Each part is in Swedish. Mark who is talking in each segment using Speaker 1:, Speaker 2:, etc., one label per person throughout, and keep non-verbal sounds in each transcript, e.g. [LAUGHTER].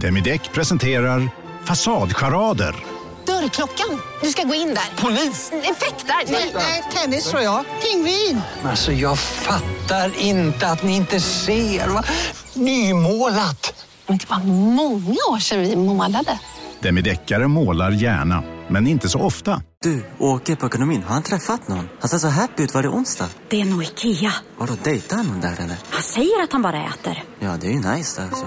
Speaker 1: Demideck presenterar Fasadcharader.
Speaker 2: Dörrklockan. Du ska gå in där. Polis? Effektar? Nej, nej, tennis tror jag. Pingvin.
Speaker 3: Alltså jag fattar inte att ni inte ser. Va? Nymålat!
Speaker 2: Men det var många år sedan vi målade.
Speaker 1: Demideckare målar gärna, men inte så ofta.
Speaker 4: Du, åker på ekonomin. Har han träffat någon? Han ser så happy ut. Var det onsdag?
Speaker 5: Det är nog Ikea.
Speaker 4: Har du dejtar han någon där eller?
Speaker 5: Han säger att han bara äter.
Speaker 4: Ja, det är ju nice där alltså.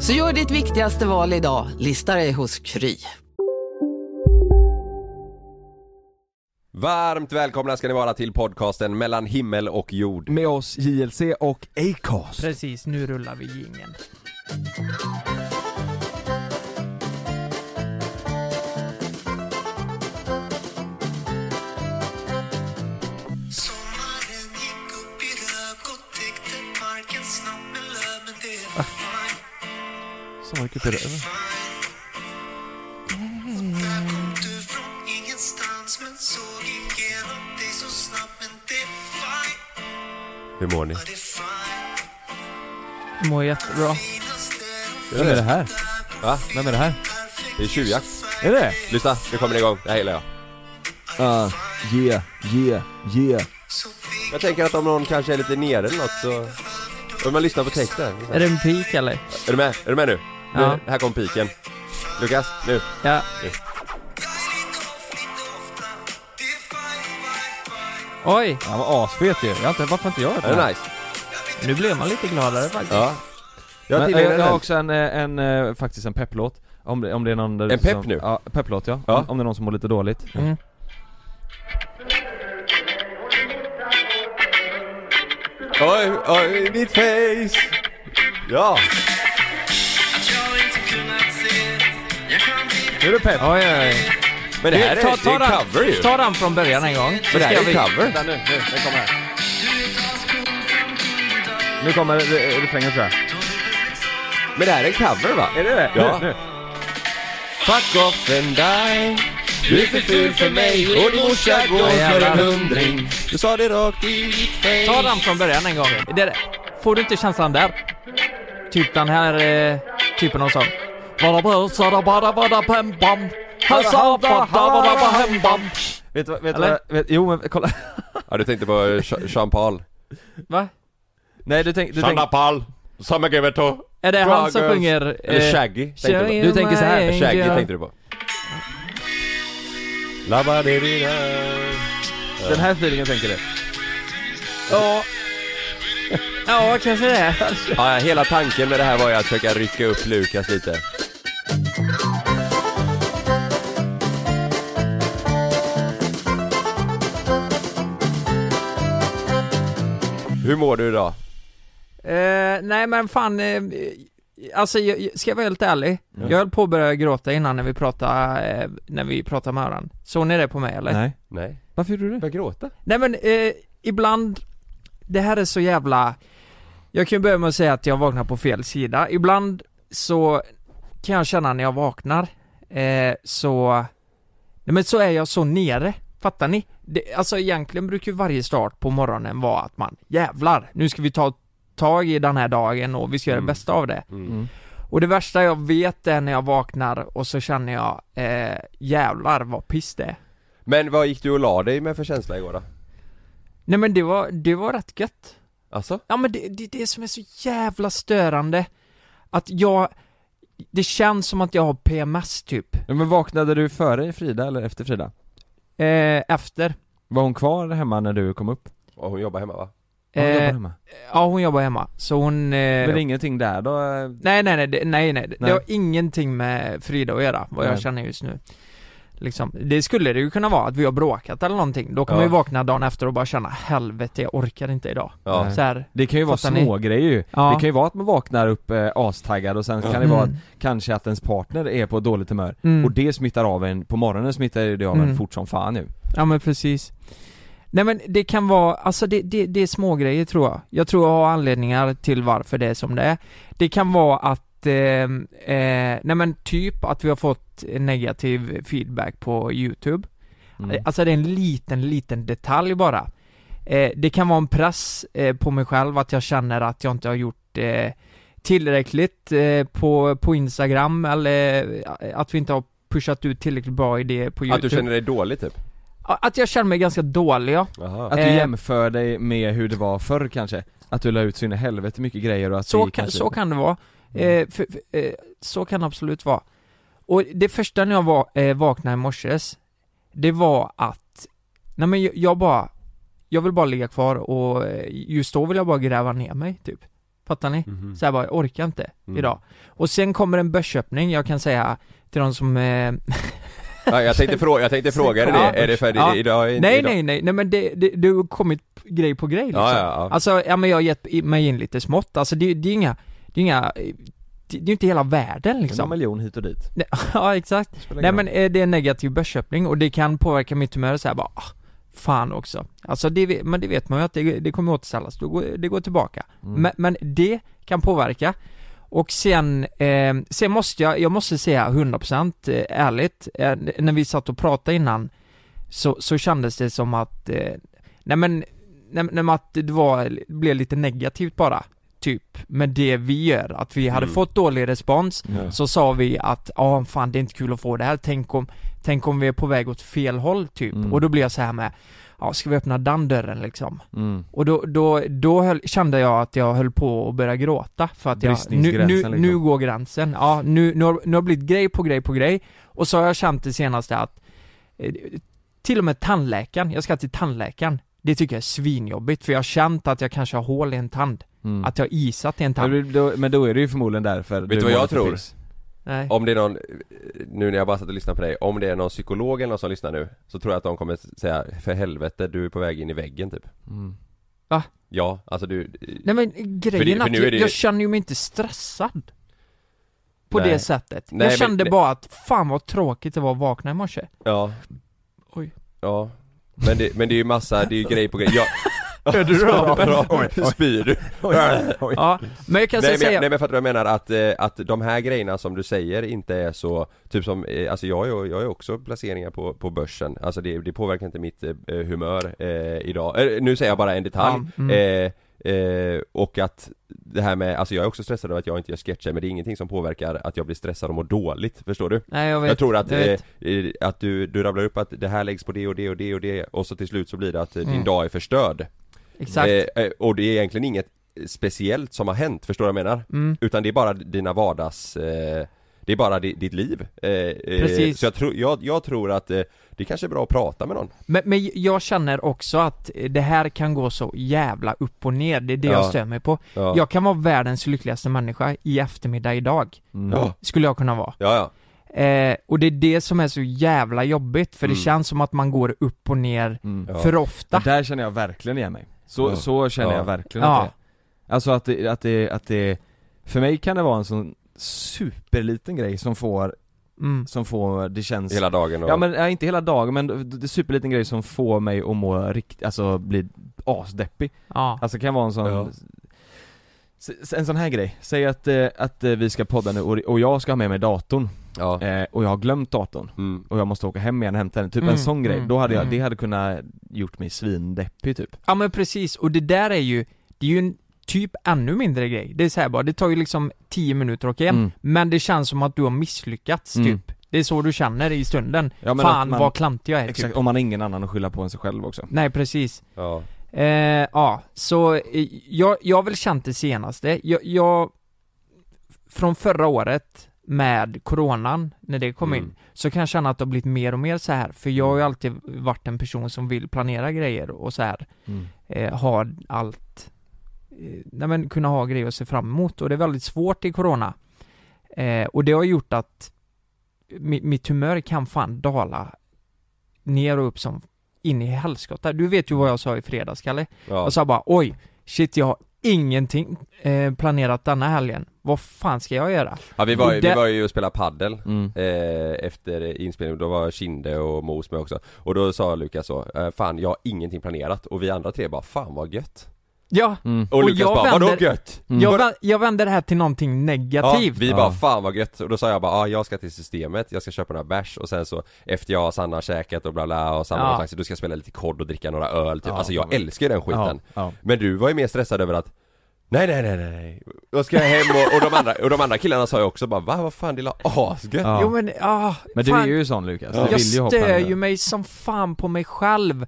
Speaker 6: Så gör ditt viktigaste val idag, listar dig hos Kry.
Speaker 7: Varmt välkomna ska ni vara till podcasten mellan himmel och jord.
Speaker 8: Med oss JLC och Acast.
Speaker 9: Precis, nu rullar vi jingeln.
Speaker 8: Som mycket till det.
Speaker 7: Hur mår ni?
Speaker 9: Mår jättebra.
Speaker 8: Vem är det här?
Speaker 7: Va?
Speaker 8: Vem är det här?
Speaker 7: Det är tjuvjakt.
Speaker 8: Är det?
Speaker 7: Lyssna, nu kommer det igång. Det här gillar jag.
Speaker 8: Ja. Ah, Yeah, yeah, yeah.
Speaker 7: Jag tänker att om någon kanske är lite nere eller något så... Om man lyssnar på texten.
Speaker 9: Är det en pik eller?
Speaker 7: Är du med? Är du med nu?
Speaker 9: Ja.
Speaker 7: Nu, här kom piken. Lukas, nu.
Speaker 9: Ja. Oj,
Speaker 8: Han var asfet ju. Jag har inte, varför inte jag hört
Speaker 7: Är det nice?
Speaker 9: nu blev man lite gladare faktiskt.
Speaker 7: Ja. Jag
Speaker 8: Jag,
Speaker 7: tillhör
Speaker 8: jag, jag har
Speaker 7: den.
Speaker 8: också en, eh, en, eh, faktiskt en pepplåt. Om det, om det är någon där
Speaker 7: En pepp
Speaker 8: som,
Speaker 7: nu?
Speaker 8: Ja, pepplåt ja.
Speaker 7: Ja.
Speaker 8: Om, om det är någon som mår lite dåligt.
Speaker 9: Mm.
Speaker 7: Oj, oj, ditt face! Ja!
Speaker 8: Nu är det pepp!
Speaker 9: Oj, oj, oj.
Speaker 7: Men det här är, det är en cover ju.
Speaker 9: Ta den från början en gång.
Speaker 7: Men det här är en cover.
Speaker 8: Vänta nu, nu, den kommer här. Nu kommer re- refrängen tror jag.
Speaker 7: Men det här är en cover va?
Speaker 8: Är det det?
Speaker 7: Ja.
Speaker 8: Nu, nu.
Speaker 7: Fuck off and die Du är för ful för mig och din morsa går för en hundring Du sa det rakt i ditt face
Speaker 9: Ta den från början en gång. Det där. Får du inte känslan där? Typ den här eh, typen av sång. Vada brösada bada bada pam bam. Hasa bada bada hem bam.
Speaker 8: Vet du vad, vet du
Speaker 9: Eller?
Speaker 8: vad, vet, jo men kolla.
Speaker 7: Ja du tänkte på eh, Cha- Jean Paul
Speaker 9: Va?
Speaker 8: Nej du, tänk, du, tänk,
Speaker 7: Paul Summer give it to
Speaker 9: Är det han som
Speaker 7: Dragers.
Speaker 9: sjunger... eh,
Speaker 7: Eller Shaggy tänkte du
Speaker 8: du tänker så här,
Speaker 7: på Shaggy tänkte du på Labba-di-di-da.
Speaker 8: den här feelingen tänker du.
Speaker 9: Ja. Ja, kanske det. är.
Speaker 7: Ja, hela tanken med det här var ju att försöka rycka upp Lukas lite Hur mår du idag?
Speaker 9: Eh, nej men fan, eh, alltså jag, jag- ska jag vara helt ärlig? Jag höll på att börja gråta innan när vi pratade, eh, när vi pratade med varandra. Såg ni det på mig eller?
Speaker 8: Nej.
Speaker 7: Nej
Speaker 8: Varför gjorde du det?
Speaker 7: Jag gråta?
Speaker 9: Nej men eh, ibland, det här är så jävla... Jag kan ju börja med att säga att jag vaknar på fel sida. Ibland så kan jag känna när jag vaknar, eh, så... Nej men så är jag så nere, fattar ni? Det, alltså egentligen brukar ju varje start på morgonen vara att man jävlar, nu ska vi ta tag i den här dagen och vi ska göra det
Speaker 7: Mm.
Speaker 9: bästa av det.
Speaker 7: Mm.
Speaker 9: Och det värsta jag vet är när jag vaknar och så känner jag, eh, jävlar vad piss det är.
Speaker 7: Men vad gick du och la dig med för känsla igår då?
Speaker 9: Nej men det var, det var rätt gött.
Speaker 7: Alltså?
Speaker 9: Ja men det, det är det som är så jävla störande Att jag Det känns som att jag har PMS typ
Speaker 8: Ja, Men vaknade du före Frida eller efter Frida?
Speaker 9: eh, Efter
Speaker 8: Var hon kvar hemma när du kom upp?
Speaker 7: Och hon jobbar hemma va?
Speaker 8: Var Hon
Speaker 9: Eh,
Speaker 8: jobbar hemma.
Speaker 9: Ja hon jobbar hemma Så hon eh,
Speaker 8: Men det är ingenting där då? eh,
Speaker 9: Nej nej nej, det- nej nej Det
Speaker 8: Nej.
Speaker 9: har ingenting med Frida att göra vad jag
Speaker 8: Nej.
Speaker 9: känner just nu Liksom. Det skulle det ju kunna vara, att vi har bråkat eller någonting. Då kan
Speaker 8: Ja.
Speaker 9: man ju vakna dagen efter och bara känna helvete jag orkar inte idag.
Speaker 8: Ja.
Speaker 9: Så här,
Speaker 8: Det kan ju vara
Speaker 9: Fattar ni?
Speaker 8: små grejer ju.
Speaker 9: Ja.
Speaker 8: Det kan ju vara att man vaknar upp eh, astaggad och sen kan det vara att,
Speaker 9: Mm.
Speaker 8: kanske att ens partner är på dåligt humör.
Speaker 9: Mm.
Speaker 8: Och det smittar av en, på morgonen smittar det av en
Speaker 9: Mm.
Speaker 8: fort som fan nu.
Speaker 9: Ja men precis. Nej men det kan vara, alltså det, det, det är små grejer tror jag. Jag tror jag har anledningar till varför det är som det är. Det kan vara att, eh, eh, nej men typ att vi har fått negativ feedback på YouTube.
Speaker 8: Mm.
Speaker 9: Alltså det är en liten, liten detalj bara. Eh, det kan vara en press eh, på mig själv att jag känner att jag inte har gjort eh, tillräckligt eh, på, på Instagram eller eh, att vi inte har pushat ut tillräckligt bra idéer på
Speaker 7: Att
Speaker 9: YouTube.
Speaker 7: du känner dig dålig typ?
Speaker 9: Att jag känner mig ganska dålig ja.
Speaker 7: Jaha.
Speaker 8: Att du
Speaker 9: Eh.
Speaker 8: jämför dig med hur det var förr kanske. Att du la ut så in i helvete mycket grejer och att
Speaker 9: Så
Speaker 8: vi
Speaker 9: kan,
Speaker 8: kanske...
Speaker 9: så kan det vara.
Speaker 7: Mm.
Speaker 9: Eh, för, för, eh, så kan det absolut vara. Och det första när jag va, eh, vaknade i morses, det var att, nej men jag, jag bara, jag vill bara ligga kvar och eh, just då vill jag bara gräva ner mig typ. Fattar ni? Så jag bara, jag orkar inte
Speaker 7: Mhm. Mm.
Speaker 9: idag. Och sen kommer en börsöppning, jag kan säga till de som eh,
Speaker 7: Ja, jag tänkte fråga, jag tänkte fråga dig
Speaker 9: Ja.
Speaker 7: det, är det för
Speaker 9: Ja.
Speaker 7: idag? idag?
Speaker 9: Nej nej nej, nej men det, det, det har kommit grej på grej liksom.
Speaker 7: Ja, ja, ja.
Speaker 9: Alltså, ja men jag har gett i- mig in lite smått, alltså det, det är inga, det är inga, det, det är ju inte hela världen
Speaker 8: En
Speaker 9: liksom
Speaker 8: miljon hit och dit.
Speaker 9: Nej, [LAUGHS] Ja exakt,
Speaker 8: Spelar
Speaker 9: nej
Speaker 8: ingen
Speaker 9: men
Speaker 8: roll.
Speaker 9: eh, det är en negativ börsköpning och det kan påverka mitt humör såhär bara, ah, fan också Alltså det, ve- men det vet man ju att det, det kommer återställas, det går, det går tillbaka
Speaker 8: Mm.
Speaker 9: men, men det kan påverka och sen, eh, sen måste jag, jag måste säga 100% eh, ärligt, eh, när vi satt och pratade innan så, så kändes det som att, eh, nej men, nej, nej men att det var, blev lite negativt bara, typ, med det vi gör, att vi hade
Speaker 7: Mm.
Speaker 9: fått dålig respons,
Speaker 8: Ja.
Speaker 9: så sa vi att, ja fan det är inte kul att få det här, tänk om, tänk om vi är på väg åt fel håll typ,
Speaker 8: Mm.
Speaker 9: och då blev jag så här med, ja ska vi öppna den dörren liksom?
Speaker 8: Mm.
Speaker 9: Och då, då, då höll, kände jag att jag höll på att börja gråta för att jag, nu,
Speaker 8: Bristningsgränsen
Speaker 9: nu,
Speaker 8: liksom.
Speaker 9: nu går gränsen, ja nu, nu, har, nu har det blivit grej på grej på grej och så har jag känt det senaste att eh, till och med tandläkaren, jag ska till tandläkaren det tycker jag är svinjobbigt för jag har känt att jag kanske har hål i en tand,
Speaker 8: Mm.
Speaker 9: att jag har isat i en tand.
Speaker 8: Men, då, men då är det ju förmodligen därför
Speaker 7: du vad
Speaker 8: mår
Speaker 7: jag
Speaker 8: lite
Speaker 7: tror?
Speaker 8: piss.
Speaker 9: Nej.
Speaker 7: Om det är någon, nu när jag bara satt och lyssnade på dig, om det är någon psykolog eller någon som lyssnar nu Så tror jag att de kommer säga, för helvete du är på väg in i väggen typ
Speaker 8: Mm.
Speaker 9: Va?
Speaker 7: Ja, alltså du
Speaker 9: Nej men grejen
Speaker 7: för
Speaker 9: att
Speaker 7: nu är
Speaker 9: jag,
Speaker 7: det-
Speaker 9: jag känner ju mig inte stressad på
Speaker 7: Nej.
Speaker 9: det sättet.
Speaker 7: Nej, men-
Speaker 9: jag kände
Speaker 7: nej.
Speaker 9: bara att fan vad tråkigt det var att vakna i
Speaker 7: [LAUGHS]
Speaker 9: morse.
Speaker 7: Ja
Speaker 9: Oj.
Speaker 7: Ja Men det, men det är ju massa, det är ju grej på grej jag,
Speaker 9: Hör du
Speaker 7: Spyr du?
Speaker 9: Ja, men jag kan säga
Speaker 7: Nej men, jag- nej men fattar du vad jag menar? Att, eh, att de här grejerna som du säger inte är så, typ som, eh, alltså jag är, jag är också placeringar på, på börsen Alltså det, det påverkar inte mitt eh, humör eh, idag, eh, nu säger jag bara en detalj
Speaker 9: Ja, mm.
Speaker 7: eh, eh, Och att det här med, alltså jag är också stressad över att jag inte gör sketcher men det är ingenting som påverkar att jag blir stressad och mår dåligt, förstår du?
Speaker 9: Nej jag vet,
Speaker 7: Jag tror att,
Speaker 9: jag
Speaker 7: eh,
Speaker 9: vet.
Speaker 7: eh, att du, du rabblar upp att det här läggs på det och det och det och det och så till slut så blir det att eh, din
Speaker 9: Mm.
Speaker 7: dag är förstörd
Speaker 9: exakt.
Speaker 7: Eh, eh, och det är egentligen inget speciellt som har hänt, förstår du vad jag menar?
Speaker 9: Mm.
Speaker 7: Utan det är bara dina vardags... Eh, det är bara di, ditt liv. Eh, eh,
Speaker 9: Precis.
Speaker 7: Så jag, tror- jag, jag tror att eh, det kanske är bra att prata med någon.
Speaker 9: Men, men jag känner också att eh, det här kan gå så jävla upp och ner, det är det
Speaker 7: Ja.
Speaker 9: jag stör mig på.
Speaker 7: Ja, ja.
Speaker 9: Jag kan vara världens lyckligaste människa i eftermiddag idag,
Speaker 7: ja.
Speaker 9: skulle jag kunna vara.
Speaker 7: ja.
Speaker 9: Eh, och det är det som är så jävla jobbigt, för
Speaker 7: Mm.
Speaker 9: det känns som att man går upp och ner
Speaker 8: Mm.
Speaker 7: Ja.
Speaker 9: för ofta.
Speaker 8: Och Där känner jag verkligen igen mig. Så,
Speaker 7: Ja.
Speaker 8: så känner
Speaker 7: Ja.
Speaker 8: jag verkligen att
Speaker 9: Ja.
Speaker 8: det är. Alltså att det, att det, att det, för mig kan det vara en sån superliten grej som får,
Speaker 9: Mm.
Speaker 8: som får, det känns
Speaker 7: Hela dagen och...
Speaker 8: Ja men, nej, inte hela dagen men det är superliten grej som får mig att må riktigt, alltså bli asdeppig
Speaker 9: Ja.
Speaker 8: Alltså det kan vara en sån
Speaker 7: Ja.
Speaker 8: s- s- En sån här grej, säg att, eh, att eh, vi ska podda nu och, och jag ska ha med mig datorn
Speaker 7: ja.
Speaker 8: eh, och jag har glömt datorn
Speaker 7: Mm.
Speaker 8: och jag måste åka hem igen och hämta den, typ
Speaker 9: Mm,
Speaker 8: en sån grej,
Speaker 9: mm,
Speaker 8: då hade jag,
Speaker 9: mm.
Speaker 8: det hade kunnat gjort mig svindeppig typ
Speaker 9: ja men precis, och det där är ju, det är ju en typ ännu mindre grej. Det är så här bara, det tar ju liksom 10 minuter att åka hem,
Speaker 8: Mm.
Speaker 9: men det känns som att du har misslyckats
Speaker 8: Mm.
Speaker 9: typ. Det är så du känner i stunden.
Speaker 8: Ja, men att
Speaker 9: Fan
Speaker 8: man-
Speaker 9: vad klantig jag är typ.
Speaker 8: Exakt, om man har ingen annan att skylla på än sig själv också
Speaker 9: Nej precis.
Speaker 7: ja.
Speaker 9: Eh, ja, så eh, jag, jag har väl känt det senaste. Jag, jag från förra året med coronan, när det kom
Speaker 7: Mm.
Speaker 9: in, så kan jag känna att det har blivit mer och mer så här. För jag har ju alltid varit en person som vill planera grejer och så här eh, ha allt, eh, nej men kunna ha grejer att se fram emot och det är väldigt svårt i Corona. Eh, och det har gjort att mi- mitt humör kan fan dala ner och upp som in i helskotta. Du vet ju vad jag sa i fredags, Kalle.
Speaker 7: Ja.
Speaker 9: Jag sa bara oj, shit jag har ingenting eh, planerat denna helgen. Vad fan ska jag göra?
Speaker 7: ja vi, var ju, vi
Speaker 9: det-
Speaker 7: var ju och spelade paddel
Speaker 8: Mm.
Speaker 7: eh, efter inspelningen, då var Kinde och Mos med också Och då sa Lukas så, eh, fan jag har ingenting planerat och vi andra tre bara, fan vad gött
Speaker 9: Ja,
Speaker 8: Mm.
Speaker 7: Och,
Speaker 9: Och
Speaker 7: Lukas
Speaker 9: jag
Speaker 7: bara, vadå
Speaker 9: vänder-
Speaker 7: gött? Mm.
Speaker 9: jag, vä- jag vänder det här till någonting
Speaker 7: Ja,
Speaker 9: negativt.
Speaker 7: vi
Speaker 8: Ja.
Speaker 7: bara 'Fan vad gött' och då sa jag bara ah, 'Jag ska till systemet, jag ska köpa några bärs' och sen så efter jag och Sanna har käkat och bla bla och Sanna
Speaker 9: Ja.
Speaker 7: har taxi, då ska jag spela lite kod och dricka några öl typ.
Speaker 8: Ja,
Speaker 7: Alltså jag
Speaker 8: men-
Speaker 7: älskar ju den skiten
Speaker 8: Ja, ja.
Speaker 7: Men du var ju mer stressad över att Nej nej nej nej, nej, då ska jag hem och, och, de andra, och de andra killarna sa ju också bara 'Va? Vad fan det är la asgött'
Speaker 8: Ja.
Speaker 9: Jo men, ah,
Speaker 8: Men du
Speaker 9: fan,
Speaker 8: är ju sån Lukas, du
Speaker 9: jag
Speaker 8: vill ju hoppa
Speaker 9: stör
Speaker 8: över.
Speaker 9: ju mig som fan på mig själv.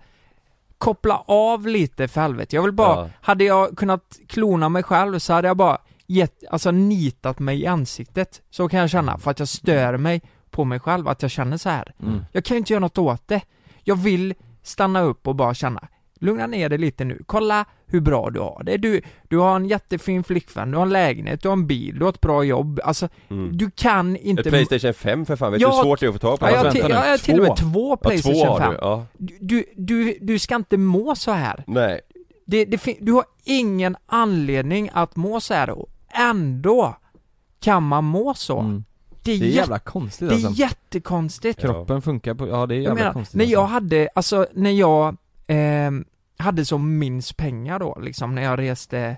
Speaker 9: Koppla av lite för helvete. Jag vill bara,
Speaker 7: Ja.
Speaker 9: hade jag kunnat klona mig själv så hade jag bara gett, alltså nitat mig i ansiktet. Så kan jag känna, för att jag stör mig på mig själv, att jag känner så här.
Speaker 8: Mm.
Speaker 9: Jag kan ju inte göra något åt det. Jag vill stanna upp och bara känna, lugna ner dig lite nu, kolla hur bra du har det. Du, du har en jättefin flickvän, du har en lägenhet, du har en bil, du har ett bra jobb. Alltså, du kan inte...
Speaker 7: Ett Playstation 5 för fan, vet du
Speaker 9: Ja,
Speaker 7: hur svårt det är att få tag på?
Speaker 9: Ja, jag, har
Speaker 8: Vänta
Speaker 9: till-
Speaker 8: nu,
Speaker 9: jag har till och med två
Speaker 7: Ja, två
Speaker 9: Playstation
Speaker 7: har
Speaker 9: 5.
Speaker 7: du, ja
Speaker 9: Du, du, du, du ska inte må så här.
Speaker 7: Nej,
Speaker 9: Det, det, fin- du har ingen anledning att må så här och ändå kan man må så.
Speaker 8: Mm.
Speaker 9: Det, är
Speaker 8: Det är
Speaker 9: jätte,
Speaker 8: jävla konstigt
Speaker 9: det
Speaker 8: alltså.
Speaker 9: är jättekonstigt.
Speaker 8: Kroppen funkar på, ja det är jävla
Speaker 9: Jag menar,
Speaker 8: konstigt
Speaker 9: när jag
Speaker 8: alltså.
Speaker 9: hade, alltså när jag ehm, hade som minst pengar då, liksom när jag reste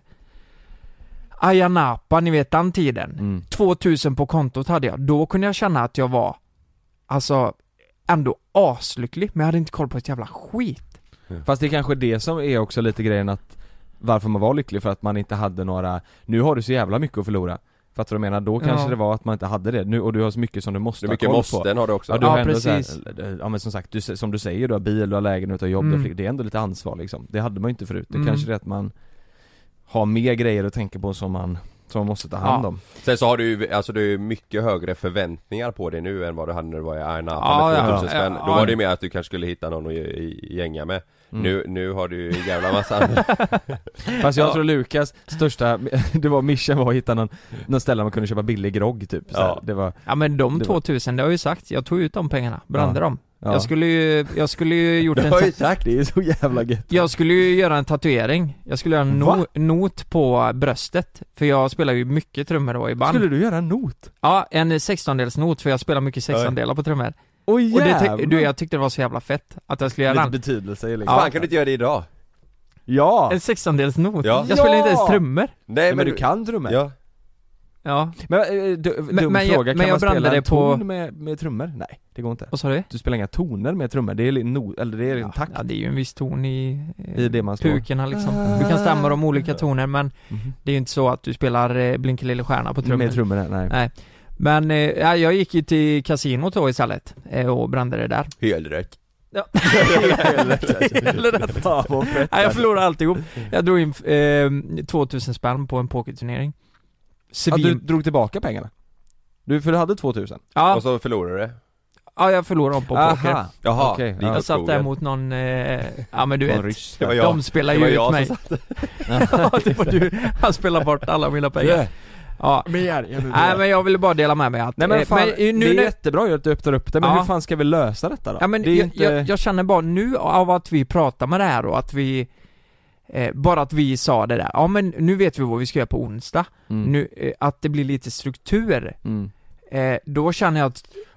Speaker 9: Ayia Napa, ni vet den tiden.
Speaker 8: Mm.
Speaker 9: 2000 på kontot hade jag, då kunde jag känna att jag var, alltså, ändå aslycklig, men jag hade inte koll på ett jävla skit.
Speaker 8: Fast det är kanske det som är också lite grejen att varför man var lycklig för att man inte hade några, nu har du så jävla mycket att förlora. Fattar du vad jag menar? Då kanske
Speaker 9: Ja.
Speaker 8: det var att man inte hade det, nu, och du har så mycket som du måste
Speaker 7: hur
Speaker 8: ha
Speaker 7: mycket
Speaker 8: koll på.
Speaker 7: måsten har du också?
Speaker 8: Ja, du
Speaker 9: Ja,
Speaker 8: har ändå
Speaker 9: precis.
Speaker 8: Så här, ja men som sagt, du, som du säger, du har bil, du har lägenhet, du har jobb, du har
Speaker 9: Mm.
Speaker 8: flick- det är ändå lite ansvar liksom. Det hade man ju inte förut. Det
Speaker 9: Mm.
Speaker 8: kanske är att man har mer grejer att tänka på som man, som man måste ta hand
Speaker 9: Ja.
Speaker 8: om.
Speaker 7: Sen så har du ju, alltså du är mycket högre förväntningar på dig nu än vad du hade när du var i Arnapa
Speaker 9: Ja,
Speaker 7: med
Speaker 9: ja,
Speaker 7: 2000
Speaker 9: ja,
Speaker 7: spänn.
Speaker 9: ja,
Speaker 7: Då
Speaker 9: ja.
Speaker 7: var det ju mer att du kanske skulle hitta någon att ge- gänga med.
Speaker 8: Mm.
Speaker 7: Nu, nu har du ju en
Speaker 9: [LAUGHS]
Speaker 7: jävla massa andra.
Speaker 8: Fast jag tror Lukas största, det var mission var att hitta någon, någon ställe man kunde köpa billig grogg typ. Så här.
Speaker 7: Ja.
Speaker 8: Det var,
Speaker 9: Ja men de
Speaker 8: Det var-
Speaker 9: 2000, det har jag ju sagt, jag tog ut de pengarna, brände dem.
Speaker 8: ja.
Speaker 9: Jag skulle ju, jag skulle ju gjort en, ta-
Speaker 8: sagt det, är så jävla gött.
Speaker 9: jag skulle ju göra en tatuering, jag skulle göra en no-
Speaker 8: Va?
Speaker 9: not på bröstet, för jag spelar ju mycket trummor då i band.
Speaker 8: Skulle du göra en not?
Speaker 9: Ja, en 16-delsnot, för jag spelar mycket 16-delar på trummor.
Speaker 8: Oj
Speaker 9: Och det, ty- du, jag tyckte det var så jävla fett, att jag skulle göra
Speaker 8: Lite
Speaker 9: den.
Speaker 8: betydelse liksom.
Speaker 7: Fan kan du inte göra det idag? Alltså,
Speaker 8: Ja!
Speaker 9: En 16-delsnot?
Speaker 7: Ja.
Speaker 9: Jag spelar inte ens
Speaker 8: Ja!
Speaker 9: trummor.
Speaker 7: Nej
Speaker 8: Men, du kan trummor?
Speaker 7: Ja.
Speaker 9: Ja,
Speaker 8: Men, eh, du, dum
Speaker 9: men jag-
Speaker 8: fråga, kan
Speaker 9: men jag
Speaker 8: man spela
Speaker 9: brände
Speaker 8: en
Speaker 9: det på-
Speaker 8: ton med, med trummor? Nej, det går inte.
Speaker 9: vad sa du?
Speaker 8: Du spelar inga toner med trummor, det är li- no, eller det är en takt
Speaker 9: Ja, det är ju en viss ton i,
Speaker 8: i
Speaker 9: eh,
Speaker 8: det man slår. Ah.
Speaker 9: pukorna liksom. Du kan stämma de olika toner men
Speaker 8: Mhm.
Speaker 9: det är ju inte så att du spelar eh, Blinker lille stjärna på trummor.
Speaker 8: Med trummorna, nej.
Speaker 9: Nej. men eh, ja, jag gick ju till kasinot då istället eh, och brände det där.
Speaker 7: Helt rätt.
Speaker 9: Eller [LAUGHS] rätt.
Speaker 8: Fan vad fett.
Speaker 9: Nej, jag förlorade alltihop. Jag drog in eh, 2000 spänn på en pokerturnering.
Speaker 8: Ja, du
Speaker 9: Svin...
Speaker 8: drog tillbaka pengarna? Du, för du hade 2000?
Speaker 9: Ja,
Speaker 7: Och så förlorar du det.
Speaker 9: ja, jag förlorade dem på poker.
Speaker 7: Jaha,
Speaker 8: Okej,
Speaker 7: det gick
Speaker 8: ja.
Speaker 7: åt
Speaker 9: Jag satt där
Speaker 7: skogen.
Speaker 9: mot någon, eh, ja men du vet,
Speaker 8: ryss
Speaker 7: Det var jag.
Speaker 9: de spelar
Speaker 7: Det
Speaker 9: ju
Speaker 7: var
Speaker 9: ut
Speaker 7: jag
Speaker 9: mig.
Speaker 7: som
Speaker 9: [LAUGHS] ja, det var du. Han spelar bort alla mina
Speaker 7: [LAUGHS]
Speaker 9: pengar. Ja.
Speaker 8: Mer!
Speaker 9: Nej men jag ville bara dela med mig att...
Speaker 8: Nej men
Speaker 9: eh,
Speaker 8: fan,
Speaker 9: eh,
Speaker 8: det är
Speaker 9: nu, när-
Speaker 8: jättebra ju att du öppnar upp det, men
Speaker 9: Ja.
Speaker 8: hur fan ska vi lösa detta då?
Speaker 9: ja, men
Speaker 8: det är
Speaker 9: jag,
Speaker 8: inte...
Speaker 9: jag, jag känner bara nu av att vi pratar med det här och att vi... Eh, bara att vi sa det där, ja men nu vet vi vad vi ska göra på onsdag.
Speaker 8: Mm.
Speaker 9: Nu, eh, att det blir lite struktur.
Speaker 8: Mm.
Speaker 9: Eh, då känner jag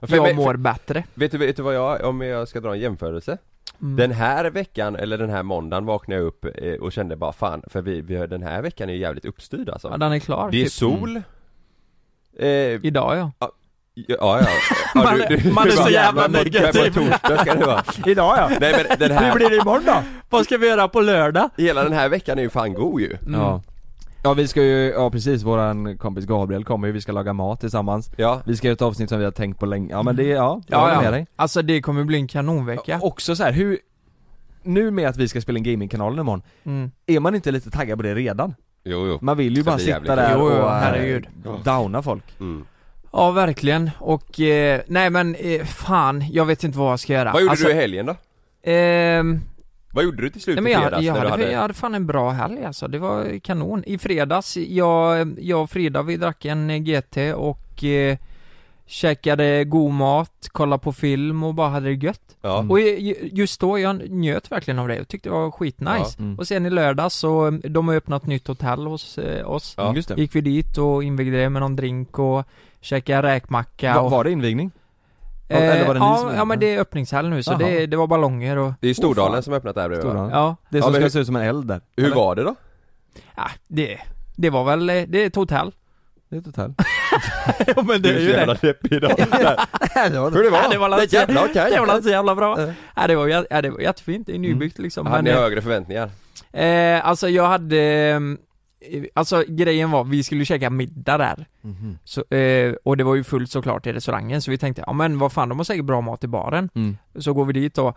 Speaker 9: att
Speaker 7: För-
Speaker 9: jag
Speaker 7: men-
Speaker 9: mår bättre.
Speaker 7: Vet du, vet du vad jag, om jag ska dra en jämförelse?
Speaker 9: Mm.
Speaker 7: Den här veckan, eller den här måndagen vaknade jag upp eh, och kände bara fan, för vi, vi, den här veckan är ju jävligt uppstyrd alltså.
Speaker 9: ja, den är klar.
Speaker 7: det är
Speaker 9: typ.
Speaker 8: Mm.
Speaker 7: sol eh,
Speaker 9: Idag ja.
Speaker 7: Ja,
Speaker 9: [LAUGHS]
Speaker 7: ja, ja.
Speaker 9: Man är- man är så jävla negativ.
Speaker 7: På torsdag ska
Speaker 9: [LAUGHS]
Speaker 7: det vara.
Speaker 8: Idag ja!
Speaker 7: Nej men den
Speaker 8: Hur
Speaker 7: här,
Speaker 8: blir det imorgon då?
Speaker 9: Vad ska vi göra på lördag?
Speaker 7: hela den här veckan är ju fan god ju.
Speaker 9: Mm.
Speaker 8: Ja. ja vi ska ju, ja precis, våran kompis Gabriel kommer ju, vi ska laga mat tillsammans
Speaker 7: Ja.
Speaker 8: Vi ska göra ett avsnitt som vi har tänkt på länge, ja men det, ja, jag
Speaker 9: Ja,
Speaker 8: håller
Speaker 9: ja.
Speaker 8: med dig
Speaker 9: Alltså det kommer bli en kanonvecka.
Speaker 8: Också så här, hur, nu med att vi ska spela in gamingkanalen imorgon,
Speaker 9: Mm.
Speaker 8: är man inte lite taggad på det redan?
Speaker 7: Jo, jo.
Speaker 8: Man vill ju
Speaker 7: Det
Speaker 8: bara
Speaker 7: blir
Speaker 8: sitta
Speaker 7: jävligt kul.
Speaker 8: där
Speaker 9: Jo,
Speaker 8: och
Speaker 9: jo,
Speaker 8: eh,
Speaker 9: herregud.
Speaker 8: downa folk
Speaker 7: Mm.
Speaker 9: Ja, verkligen. Och, eh, nej men eh, fan, jag vet inte vad jag ska göra.
Speaker 7: Vad gjorde
Speaker 9: Alltså,
Speaker 7: du i helgen då?
Speaker 9: Ehm,
Speaker 7: Vad gjorde du till slut
Speaker 9: nej,
Speaker 7: i
Speaker 9: men
Speaker 7: fredags
Speaker 9: jag, jag,
Speaker 7: när
Speaker 9: hade,
Speaker 7: du hade...
Speaker 9: jag hade fan en bra helg alltså, det var kanon. I fredags, jag, jag och Frida vi drack en eh, GT och eh, käkade god mat, kollade på film och bara hade det gött.
Speaker 7: Ja.
Speaker 8: Mm.
Speaker 9: Och ju- just då, jag njöt verkligen av det och tyckte det var skitnice.
Speaker 8: Ja. Mm.
Speaker 9: Och sen i lördags så, eh, de har öppnat nytt hotell hos eh, oss.
Speaker 7: Ja.
Speaker 8: Mm, Just det.
Speaker 9: Gick vi dit och invigde det med någon drink och käkade räkmacka
Speaker 8: Va,
Speaker 9: och...
Speaker 8: var det invigning?
Speaker 9: Eh,
Speaker 8: eller var det ni som
Speaker 9: ja,
Speaker 8: gjorde
Speaker 9: ja men
Speaker 8: det?
Speaker 9: det är öppningshelg nu så
Speaker 8: Jaha.
Speaker 9: det, det var ballonger och...
Speaker 7: Det är ju Stordalen
Speaker 8: fan.
Speaker 7: som har öppnat där bredvid va?
Speaker 8: Stora.
Speaker 9: Ja,
Speaker 8: Det
Speaker 7: Ja,
Speaker 8: som
Speaker 7: men
Speaker 8: ska
Speaker 7: hur-
Speaker 8: se ut som en eld där.
Speaker 7: Hur var det då?
Speaker 9: ja det, det var väl, eh, det är ett hotell.
Speaker 8: Det är ett hotell.
Speaker 9: ja men
Speaker 7: Du är så jävla
Speaker 8: [LAUGHS]
Speaker 7: deppig idag. Hur det
Speaker 9: Ja, det var
Speaker 7: var? Det
Speaker 9: lite-
Speaker 7: jävla okej.
Speaker 9: [LAUGHS] Det var väl inte så jävla bra?
Speaker 8: Ja.
Speaker 9: Ja, det var, jä- ja, det var jättefint, det är nybyggt liksom
Speaker 7: Hade
Speaker 9: men,
Speaker 7: ni
Speaker 9: eh,
Speaker 7: högre förväntningar?
Speaker 9: eh, Alltså jag hade, eh, alltså grejen var, vi skulle käka middag där
Speaker 8: Mhm.
Speaker 9: så, eh, Och det var ju fullt såklart i restaurangen så vi tänkte, ja men vad fan de har säkert bra mat i baren
Speaker 8: Mm.
Speaker 9: Så går vi dit då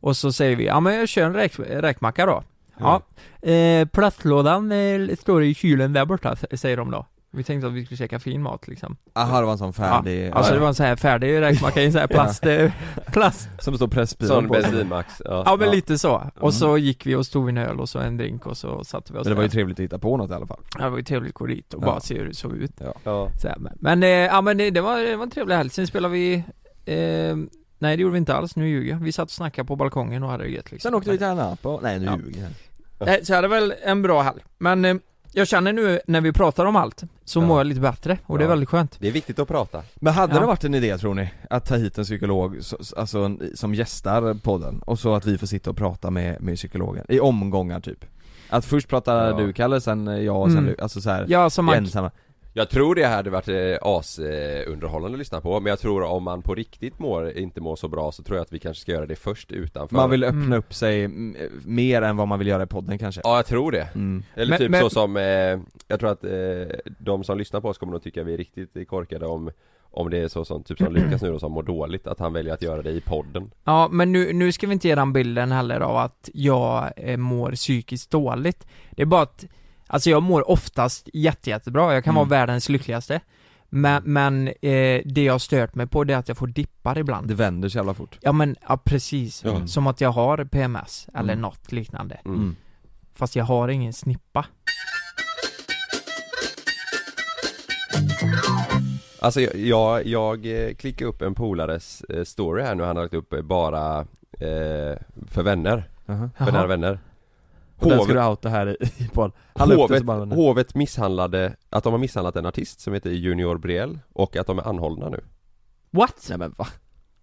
Speaker 9: och så säger vi, ja men jag kör en räk, räkmacka då Ja, eh, plastlådan eh, står i kylen där borta s- säger de då Vi tänkte att vi skulle käka fin mat liksom
Speaker 8: Aha, det var en sån färdig...
Speaker 9: ja. Alltså det var en sån här färdig räkmacka i
Speaker 8: [LAUGHS]
Speaker 9: en sån här plast, eh, plast
Speaker 8: Som står pressbilen
Speaker 7: Sån
Speaker 8: på.
Speaker 7: bensinmax? Ja.
Speaker 9: Ja men lite så. Och så gick vi och stod en öl och så en drink och så satte vi oss
Speaker 8: Mm. Men det var ju
Speaker 9: där.
Speaker 8: trevligt att hitta på något i alla fall.
Speaker 9: Ja, det var ju trevligt att gå dit och
Speaker 8: Ja.
Speaker 9: bara se hur det såg ut.
Speaker 7: Ja.
Speaker 9: Så här, men, men, eh, ja men det, det, var, det var en trevlig helg. Sen spelade vi, eh, nej det gjorde vi inte alls, nu ljuger jag. Vi satt och snackade på balkongen och hade det gött liksom.
Speaker 8: Sen åkte vi till Anapa. Nej, nu
Speaker 9: Ja.
Speaker 8: ljuger jag.
Speaker 9: Nej, så jag hade väl en bra helg. Men eh, jag känner nu när vi pratar om allt, så
Speaker 8: Ja.
Speaker 9: mår jag lite bättre och det är
Speaker 8: Ja.
Speaker 9: väldigt skönt.
Speaker 7: Det är viktigt att prata.
Speaker 8: Men hade
Speaker 9: Ja.
Speaker 8: det varit en idé tror ni? Att ta hit en psykolog, s- s- alltså en, som gästar podden, och så att vi får sitta och prata med, med psykologen, i omgångar typ? Att först pratar
Speaker 7: Ja.
Speaker 8: du Kalle, sen jag, och sen
Speaker 9: Mm.
Speaker 8: du, alltså så här,
Speaker 9: Ja, som man,
Speaker 8: ensamma
Speaker 7: Jag tror det hade varit eh, asunderhållande att lyssna på, men jag tror om man på riktigt mår, inte mår så bra så tror jag att vi kanske ska göra det först utanför
Speaker 8: Man vill öppna
Speaker 9: Mm.
Speaker 8: upp sig m- mer än vad man vill göra i podden kanske?
Speaker 7: Ja jag tror det
Speaker 8: Mm.
Speaker 7: Eller
Speaker 9: Men-
Speaker 7: typ
Speaker 9: men-
Speaker 7: så som, eh, jag tror att eh, de som lyssnar på oss kommer nog tycka vi är riktigt korkade om om det är så som, typ
Speaker 8: [CLEARS THROAT]
Speaker 7: som Lukas nu då som mår dåligt, att han väljer att göra det i podden
Speaker 9: ja men nu, nu ska vi inte ge den bilden heller av att jag eh, mår psykiskt dåligt. Det är bara att Alltså jag mår oftast jätte, jättebra, jag kan
Speaker 8: Mm.
Speaker 9: vara världens lyckligaste Men, men eh, det jag har stört mig på det är att jag får dippar ibland
Speaker 8: Det vänder så jävla fort
Speaker 9: Ja men, ja precis,
Speaker 8: Ja.
Speaker 9: som att jag har PMS eller
Speaker 8: Mm.
Speaker 9: något liknande
Speaker 7: Mm.
Speaker 8: Mm.
Speaker 9: Fast jag har ingen snippa
Speaker 7: Alltså jag, jag, jag eh, klickar upp en polares eh, story här nu, han har lagt upp eh, bara eh, för vänner,
Speaker 8: Jaha.
Speaker 7: för nära vänner
Speaker 8: Och den ska
Speaker 7: Hovet-
Speaker 8: du outa här i, i podden Han la upp det
Speaker 7: Hovet,
Speaker 8: så bara, nej.
Speaker 7: hovet misshandlade, att de har misshandlat en artist som heter Junior Briel och att de är anhållna nu
Speaker 9: What?
Speaker 8: Nej men va?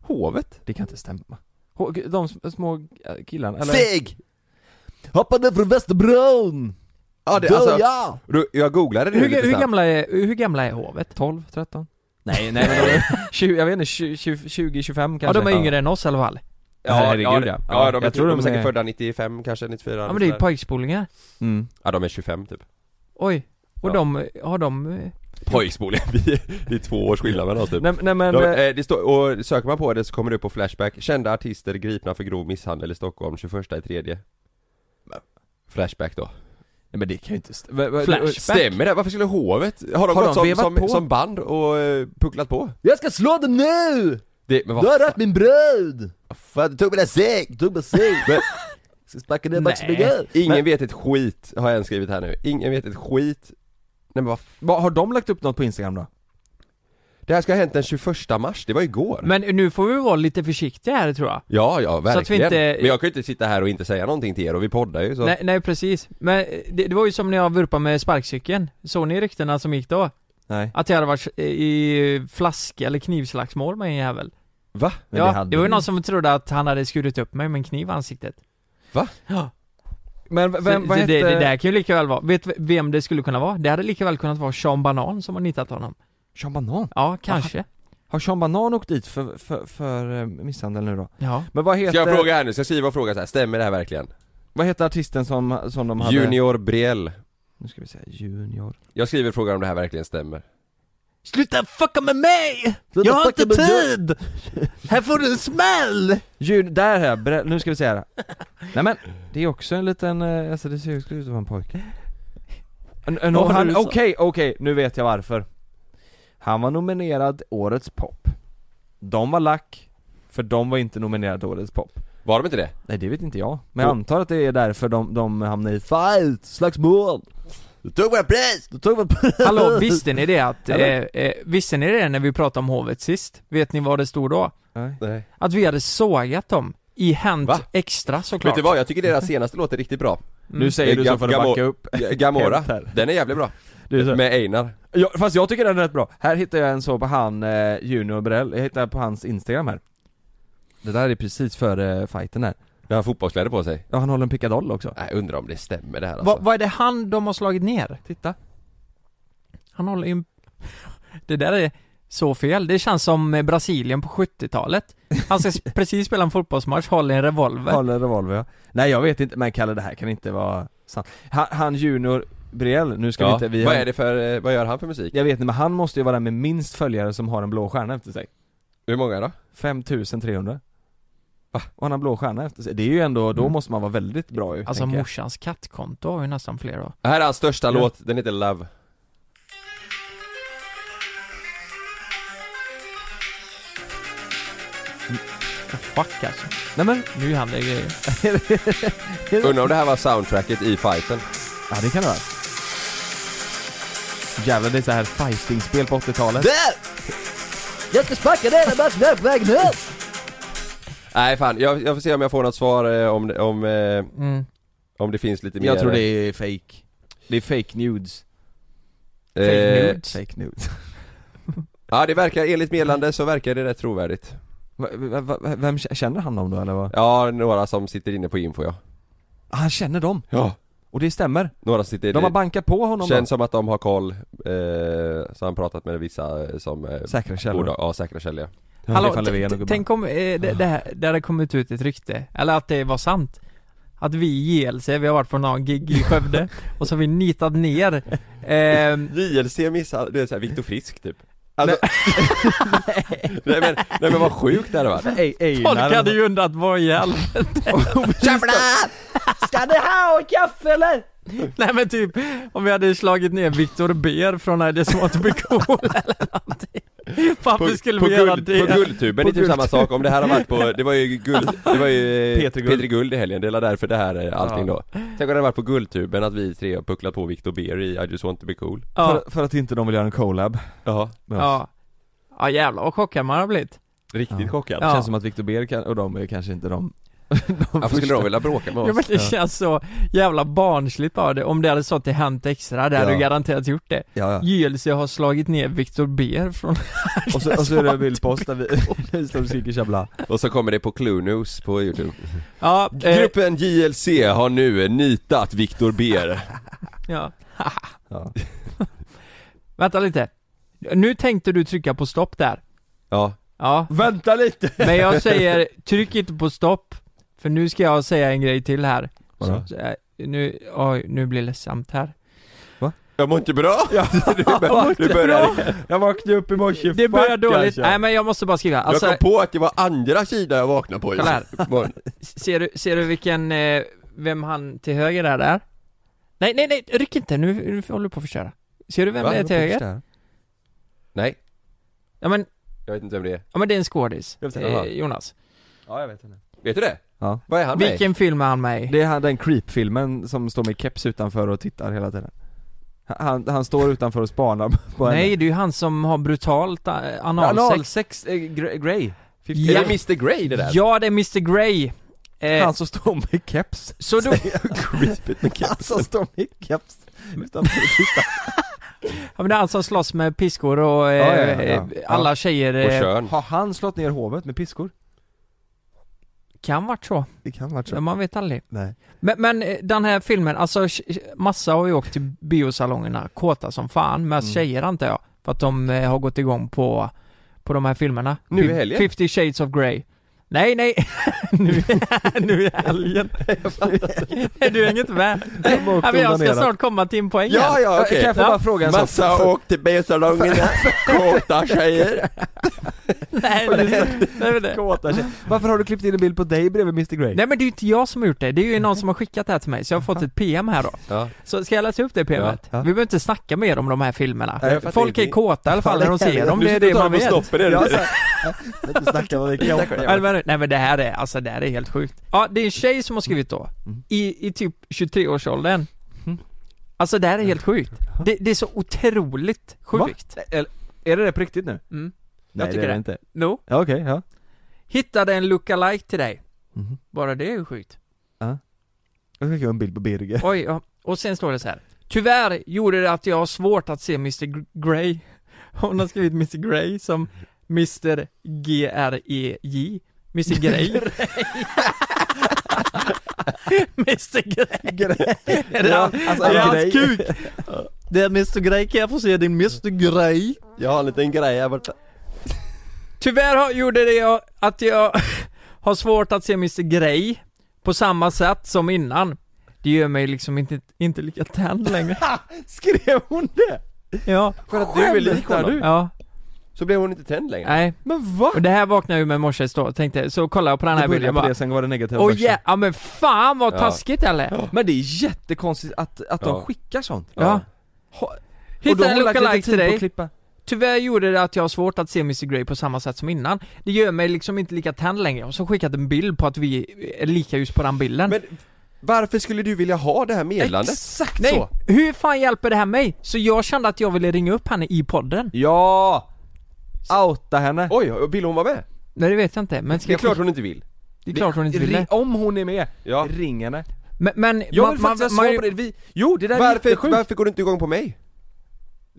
Speaker 7: Hovet?
Speaker 8: Det kan inte stämma H- De s- små äh, killarna, eller?
Speaker 7: Seg!
Speaker 8: Hoppade från Västerbron!
Speaker 7: Ja, det,
Speaker 8: Dör
Speaker 7: alltså,
Speaker 8: jag!
Speaker 7: du, jag googlade det nu
Speaker 9: Hur,
Speaker 7: lite
Speaker 9: hur,
Speaker 7: snabbt
Speaker 9: gamla är, hur gamla är hovet?
Speaker 8: 12, 13? Nej, nej
Speaker 7: [LAUGHS]
Speaker 8: men de är 20, jag vet inte, 20, 20 25
Speaker 9: Ja
Speaker 8: kanske
Speaker 9: de är yngre än oss i alla fall
Speaker 8: Ja, herregud
Speaker 7: ja,
Speaker 8: ja.
Speaker 7: ja de, är, typ-
Speaker 8: jag tror
Speaker 7: de är
Speaker 8: de
Speaker 7: säkert
Speaker 8: är-
Speaker 7: födda 95 kanske, 94
Speaker 9: Ja men det är ju
Speaker 7: sådär.
Speaker 9: pojkspolingar
Speaker 8: Mm.
Speaker 7: Ja de är 25 typ
Speaker 9: Oj, och
Speaker 7: Ja.
Speaker 9: de, har de... eh,
Speaker 7: Pojkspoling, vi det är två års skillnad mellan oss typ
Speaker 8: Nej, nej men,
Speaker 7: de,
Speaker 8: eh,
Speaker 7: eh, det står, och söker man på det så kommer det upp på Flashback Kända artister gripna för grov misshandel i Stockholm 21 i tredje Flashback då
Speaker 8: nej men det kan ju inte st- va- va-
Speaker 9: Flashback.
Speaker 7: Stämmer det? Varför skulle hovet? Har de
Speaker 8: Har
Speaker 7: gått
Speaker 8: de vevat
Speaker 7: som, som,
Speaker 8: på?
Speaker 7: som band och eh, pucklat på?
Speaker 8: Jag ska slå dig nu!
Speaker 7: Det, men vad
Speaker 8: rört min brud!
Speaker 7: fan, du tog mina säng!
Speaker 8: Tog bensin!
Speaker 7: [LAUGHS]
Speaker 8: Ska sparka ner
Speaker 9: Max Bigell.
Speaker 7: Ingen
Speaker 8: Men-
Speaker 7: vet ett skit, har jag en skrivit här nu. Ingen vet ett skit. Nej men vad f-
Speaker 8: Har de lagt upp något på Instagram då?
Speaker 7: Det här ska ha hänt den 21 mars, det var igår.
Speaker 9: Men nu får vi vara lite försiktiga här tror jag
Speaker 7: Ja, ja, verkligen.
Speaker 9: att vi inte-
Speaker 7: Men jag kan ju inte sitta här och inte säga någonting till er och vi poddar ju så.
Speaker 9: Nej, nej precis, men eh, det, det var ju som när jag vurpade med sparkcykeln Såg ni ryktena som gick då?
Speaker 8: Nej.
Speaker 9: Att jag hade varit eh, i flask eller knivslagsmål med en jävel
Speaker 7: Va?
Speaker 8: Men
Speaker 9: Ja,
Speaker 8: det
Speaker 9: det,
Speaker 8: hade
Speaker 9: var ju
Speaker 8: vi.
Speaker 9: någon som trodde att han hade skurit upp mig med en kniv i ansiktet
Speaker 7: Va?
Speaker 9: Ja,
Speaker 8: Men v- vem,
Speaker 9: så,
Speaker 8: vad
Speaker 9: så
Speaker 8: hette...
Speaker 9: det, det där kan ju lika väl vara, vet v- vem det skulle kunna vara? Det hade lika väl kunnat vara Sean Banan som har nitat honom
Speaker 8: Sean Banan?
Speaker 9: Ja, kanske
Speaker 8: Har Sean Banan åkt dit för, för, för eh, misshandel nu då?
Speaker 9: Ja
Speaker 8: Men vad heter,
Speaker 7: Ska jag fråga här nu, ska jag skriva och fråga så här. stämmer det här verkligen?
Speaker 8: vad heter artisten som, som de hade?
Speaker 7: Junior Briel.
Speaker 8: Nu ska vi säga Junior
Speaker 7: Jag skriver och frågar om det här verkligen stämmer.
Speaker 9: Sluta fucka med mig!
Speaker 8: Jag har inte [LAUGHS]
Speaker 9: tid! Här får du en smäll!
Speaker 8: Jun, där här, bre- nu ska vi se här Nej men, det är också en liten, eh, alltså det ser ju ut att vara en pojke En- en-
Speaker 9: Vad
Speaker 8: och
Speaker 9: var det
Speaker 8: han-
Speaker 9: du sa?
Speaker 8: Okej, okej, nu vet jag varför Han var nominerad Årets pop De var lack, för de var inte nominerade Årets pop
Speaker 7: Var de inte det?
Speaker 8: Nej det vet inte jag, men jag antar att det är därför de, de hamnar i fight, slagsmål Du tog mig pris! Du tog mig pris! [LAUGHS]
Speaker 9: Hallå, visste ni det att, eh,
Speaker 8: Eller?
Speaker 9: eh, visste ni det när vi pratade om hovet sist? Vet ni vad det stod då?
Speaker 8: Nej.
Speaker 7: Nej.
Speaker 9: Att vi hade sågat dem, i Hänt
Speaker 7: Va?
Speaker 9: Extra såklart
Speaker 7: Vet du vad, jag tycker deras senaste låt är riktigt bra
Speaker 8: Mm. Nu säger du så får du
Speaker 7: Gamora.
Speaker 8: backa upp [LAUGHS]
Speaker 7: Gamora,
Speaker 8: Helt här.
Speaker 7: den är jävligt bra
Speaker 8: Du är så här.
Speaker 7: Med Einar
Speaker 8: Ja, fast jag tycker den är rätt bra. Här hittar jag en så på han eh, Junior Brell, jag hittar på hans instagram här Det där är precis före eh, fighten här.
Speaker 7: När han har fotbollskläder på sig
Speaker 8: Ja han håller en pickadoll också.
Speaker 7: Nej, undrar om det stämmer det här
Speaker 9: Va,
Speaker 7: alltså
Speaker 9: Vad är det han de har slagit ner?
Speaker 8: Titta.
Speaker 9: Han håller ju [LAUGHS] en... Det där är så fel, det känns som eh, Brasilien på 70-talet Han ska s- [LAUGHS] precis spela en fotbollsmatch, håller en revolver
Speaker 8: Håller revolver ja. Nej jag vet inte, men Kalle det här kan inte vara sant. Han, han Junior Brell, nu ska vi
Speaker 7: ja.
Speaker 8: inte, vi
Speaker 7: Vad
Speaker 8: har-
Speaker 7: är det för, eh, vad gör han för musik?
Speaker 8: Jag vet inte men han måste ju vara den med minst följare som har en blå stjärna efter sig.
Speaker 7: Hur många då?
Speaker 8: 5300. Va? Och han har en blå stjärna efter sig. Det är ju ändå,
Speaker 7: Mm.
Speaker 8: då måste man vara väldigt bra ju.
Speaker 9: Alltså
Speaker 8: tänker jag.
Speaker 9: morsans kattkonto har ju nästan fler då
Speaker 7: Det här är hans största
Speaker 8: Ja.
Speaker 7: låt, den heter Love
Speaker 9: oh, Fuck alltså,
Speaker 8: Nej men,
Speaker 9: nu händer det grejer
Speaker 7: Undrar om det här var soundtracket i fighten?
Speaker 8: ja det kan det vara. Jävlar det är så här fighting-spel på 80-talet.
Speaker 7: Nej fan, jag, jag får se om jag får något svar eh, om, det- om, eh,
Speaker 9: mm.
Speaker 7: om det finns lite mer
Speaker 8: Jag tror det är fake. Det är fake nudes.
Speaker 9: Fake
Speaker 7: eh,
Speaker 9: nudes.
Speaker 8: Fake nudes.
Speaker 7: Ja det verkar, enligt meddelande så verkar det rätt trovärdigt
Speaker 8: Va, va, va, vem k- känner han dem då eller vad?
Speaker 7: Ja, några som sitter inne på info ja
Speaker 8: Ah, Han känner dem!
Speaker 7: Ja
Speaker 8: Och det stämmer.
Speaker 7: Några som sitter
Speaker 8: De har bankat på honom
Speaker 7: Känns
Speaker 8: då.
Speaker 7: som att de har koll, eh, så han pratat med vissa eh, som eh,
Speaker 8: Säkra källor.
Speaker 7: borde- Ja, säkra källor ja.
Speaker 9: Hallå,
Speaker 8: Stefan Löfven och
Speaker 9: t-
Speaker 8: gubbar.
Speaker 9: tänk om eh, det, det, här, det hade kommit ut ett rykte, eller att det var sant Att vi i JLC, vi har varit på någon gig i
Speaker 8: [LAUGHS]
Speaker 9: Skövde och så har vi nitat ner eh,
Speaker 7: JLC missar, det är såhär Viktor Frisk typ alltså, [LAUGHS] nej. men, nej men vad sjukt det hade varit
Speaker 8: Ej, ej,
Speaker 9: Folk
Speaker 8: när de-
Speaker 9: hade ju undrat vad i helvete
Speaker 6: Ska du ha kaffe eller?
Speaker 9: Nej men typ, om vi hade slagit ner Viktor Ber från I just want to be cool [LAUGHS] eller någonting Varför skulle vi göra det?
Speaker 7: på Guldtuben
Speaker 9: På
Speaker 7: är typ samma
Speaker 9: Guldtuben.
Speaker 7: sak, om det här har varit på, det var ju guld, det var ju eh,
Speaker 8: Petri Guld.
Speaker 7: Petri Guld i helgen, det är väl därför det här är allting då Tänk om det hade varit på Guldtuben att vi tre har pucklat på Viktor Beer i I just want to be cool
Speaker 9: Ja,
Speaker 8: För, för att inte de vill göra en collab.
Speaker 7: Ja,
Speaker 8: med oss.
Speaker 9: ja Ja jävlar vad chockad man har blivit
Speaker 7: riktigt
Speaker 8: Ja.
Speaker 7: chockad
Speaker 9: Ja.
Speaker 8: Känns som att Viktor Ber kan, och de är kanske inte de.
Speaker 7: Varför skulle de vilja bråka med
Speaker 9: Ja, men
Speaker 7: oss?
Speaker 9: det känns så jävla barnsligt av det, om det hade stått till Hänt Extra, det hade
Speaker 8: Ja.
Speaker 9: du garanterat gjort det
Speaker 8: Ja, ja.
Speaker 9: JLC har slagit ner Viktor Ber från
Speaker 8: Och så, och så är det en bild på oss där vi,
Speaker 9: [LAUGHS]
Speaker 8: där [LAUGHS] vi står och skriker tjabla.
Speaker 7: Och så kommer det på Clue News på youtube
Speaker 9: Ja, eh,
Speaker 7: Gruppen JLC har nu nitat Viktor Ber [LAUGHS]
Speaker 9: ja.
Speaker 8: Ja.
Speaker 9: [LAUGHS] Vänta lite Nu tänkte du trycka på stopp där
Speaker 7: Ja,
Speaker 9: Ja,
Speaker 8: Vänta lite!
Speaker 9: men jag säger tryck inte på stopp För nu ska jag säga en grej till här
Speaker 8: Vadå?
Speaker 9: Så, eh, Nu, oj, nu blir det ledsamt här
Speaker 7: jag mår inte bra! Ja, [LAUGHS] du bör, du börjar,
Speaker 9: Bra!
Speaker 8: Jag vaknade upp i morse,
Speaker 9: Det börjar
Speaker 8: fuck,
Speaker 9: dåligt,
Speaker 8: alltså.
Speaker 9: nej men jag måste bara skriva alltså,
Speaker 7: Jag kom på att det var andra sidan jag vaknade på
Speaker 9: Kolla här.
Speaker 7: Morgon.
Speaker 9: ser, du, ser du vilken, eh, vem han till höger är där? Nej, nej, nej, ryck inte, nu, nu håller du på att förstöra Ser du vem
Speaker 7: Va?
Speaker 9: det är till höger?
Speaker 7: Nej,
Speaker 9: Ja men,
Speaker 7: jag vet inte vem det är
Speaker 9: ja men det är en skådis,
Speaker 8: Jag vet inte.
Speaker 9: eh,
Speaker 7: Jaha.
Speaker 9: Jonas
Speaker 8: Ja, jag vet inte.
Speaker 7: Vet du det?
Speaker 8: Ja.
Speaker 7: Vad är han med i?
Speaker 9: Vilken film är han med i?
Speaker 8: Det är han, den creep-filmen som står med keps utanför och tittar hela tiden. Han, han står utanför och spanar [LAUGHS] på henne.
Speaker 9: Nej, det är ju han som har brutalt eh, analsex
Speaker 8: Analsex, eh, Gr- Grey.
Speaker 9: Ja.
Speaker 7: Är det Mr Grey det där?
Speaker 9: Ja, det är Mr Grey eh,
Speaker 8: Han som står med keps.
Speaker 9: Så
Speaker 8: [LAUGHS]
Speaker 9: då,
Speaker 8: Creepigt med keps. Han som står med keps. Utanför och tittar.
Speaker 9: ja, men det är han som slåss med piskor och eh,
Speaker 8: Ja, ja, ja, ja.
Speaker 9: alla
Speaker 8: Ja.
Speaker 9: tjejer
Speaker 7: Och
Speaker 9: eh,
Speaker 7: Tjörn
Speaker 8: Har han slått ner hovet med piskor?
Speaker 9: kan varit så,
Speaker 8: Det kan vara
Speaker 9: men man vet aldrig
Speaker 8: Nej.
Speaker 9: Men, men eh, den här filmen, alltså sh- massa har ju åkt till biosalongerna kåta som fan, mest
Speaker 8: Mm.
Speaker 9: tjejer antar jag. För att de eh, har gått igång på, på de här filmerna.
Speaker 7: Nu i
Speaker 9: Fif-
Speaker 7: helgen?
Speaker 9: 50 shades of Grey. Nej, nej, [LAUGHS] nu, nu i helgen. du hänger inte med. Ja, men jag ska snart komma till en poäng
Speaker 7: Ja,
Speaker 9: här.
Speaker 7: ja okej!
Speaker 8: Kan jag få bara fråga en sak?
Speaker 7: Massa åk till biosalongerna, kåta tjejer
Speaker 9: [LAUGHS] Nej, det, det, det, det.
Speaker 8: Kåta tjejer. Varför har du klippt in en bild på dig bredvid Mr Grey?
Speaker 9: Nej men det är ju inte jag som har gjort det, det är ju någon som har skickat det här till mig, så jag har fått ett PM här då.
Speaker 7: Ja.
Speaker 9: Så ska jag läsa upp det PMet?
Speaker 8: Ja.
Speaker 9: Vi behöver inte snacka mer om de här filmerna.
Speaker 7: Nej, jag fattar
Speaker 9: Folk är
Speaker 7: ingenting.
Speaker 9: kåta i alla fall när de ser dem, det är det man vet.
Speaker 8: Jag sa... Jag vet inte snacka vad vi kan.
Speaker 9: Nej, men- Nej men det här är, alltså det här är helt sjukt. Ja, det är en tjej som har skrivit då, i, i typ 23-årsåldern. Alltså det här är helt sjukt. Det, det är så otroligt sjukt.
Speaker 7: Va? Eller, är det det på riktigt nu?
Speaker 9: Mm.
Speaker 7: Nej det
Speaker 9: tycker
Speaker 7: är det
Speaker 9: det.
Speaker 7: inte.
Speaker 9: No.
Speaker 7: Ja, okej, ja.
Speaker 9: Hittade en lookalike till dig.
Speaker 7: Mhm.
Speaker 9: Bara det är ju sjukt.
Speaker 7: Jag ska göra en bild på Birger.
Speaker 9: Oj, ja. Och sen står det så här. Tyvärr gjorde det att jag har svårt att se Mr Gr- Grey. Hon har skrivit Mr Grey som Mr G-R-E-J. [LAUGHS] Mr E Grey. Mr Grey. Är det, han,
Speaker 7: alltså,
Speaker 9: är det
Speaker 7: han-
Speaker 9: hans kuk? [LAUGHS] Det är Mr Grey, kan jag få se din Mr Grey?
Speaker 6: Jag har en liten grej här borta
Speaker 9: Tyvärr har, gjorde det jag, att jag [LAUGHS] har svårt att se Mr Grey på samma sätt som innan. Det gör mig liksom inte, inte lika tänd längre.
Speaker 7: Skrev hon det?
Speaker 9: Ja.
Speaker 6: För att du är lik
Speaker 7: Skämtar
Speaker 6: honom?
Speaker 7: du?
Speaker 9: Ja,
Speaker 6: Så blev hon inte tänd längre?
Speaker 9: nej.
Speaker 7: Men va?
Speaker 9: Och det här vaknade jag ju med i morse då, tänkte, så kollade jag på den här
Speaker 7: Jag
Speaker 9: bilden
Speaker 7: började
Speaker 9: jag
Speaker 7: på
Speaker 9: bara
Speaker 7: det, sen var det negativa
Speaker 9: Åh
Speaker 7: börsen.
Speaker 9: ja, ja men fan vad
Speaker 6: Ja.
Speaker 9: taskigt eller?
Speaker 7: Men det är jättekonstigt att, att de
Speaker 6: Ja.
Speaker 7: skickar sånt.
Speaker 9: Ja.
Speaker 7: Och då
Speaker 9: Hittade
Speaker 7: har
Speaker 9: en
Speaker 7: hon lagt lite
Speaker 9: lookalike
Speaker 7: tid
Speaker 9: till
Speaker 7: på att
Speaker 9: dig,
Speaker 7: klippa.
Speaker 9: tyvärr gjorde det att jag har svårt att se Mr Grey på samma sätt som innan Det gör mig liksom inte lika tänd längre, och så skickat en bild på att vi är lika just på den bilden
Speaker 6: Men varför skulle du vilja ha det här meddelandet?
Speaker 7: Exakt
Speaker 9: Nej,
Speaker 7: så!
Speaker 9: hur fan hjälper det här mig? Så jag kände att jag ville ringa upp henne i podden.
Speaker 7: Ja! Outa henne!
Speaker 6: Oj, vill hon vara med?
Speaker 9: Nej det vet jag inte, men ska
Speaker 6: Det är
Speaker 9: jag få-
Speaker 6: klart hon inte vill
Speaker 9: det är klart hon inte
Speaker 7: Ri-
Speaker 9: ville.
Speaker 7: Om hon är med,
Speaker 6: Ja.
Speaker 7: ring henne.
Speaker 9: Men, men
Speaker 7: Jag vill faktiskt ha svar på det, vi... Jo, det där är
Speaker 6: Varför,
Speaker 7: jättesjukt!
Speaker 6: varför går du inte igång på mig?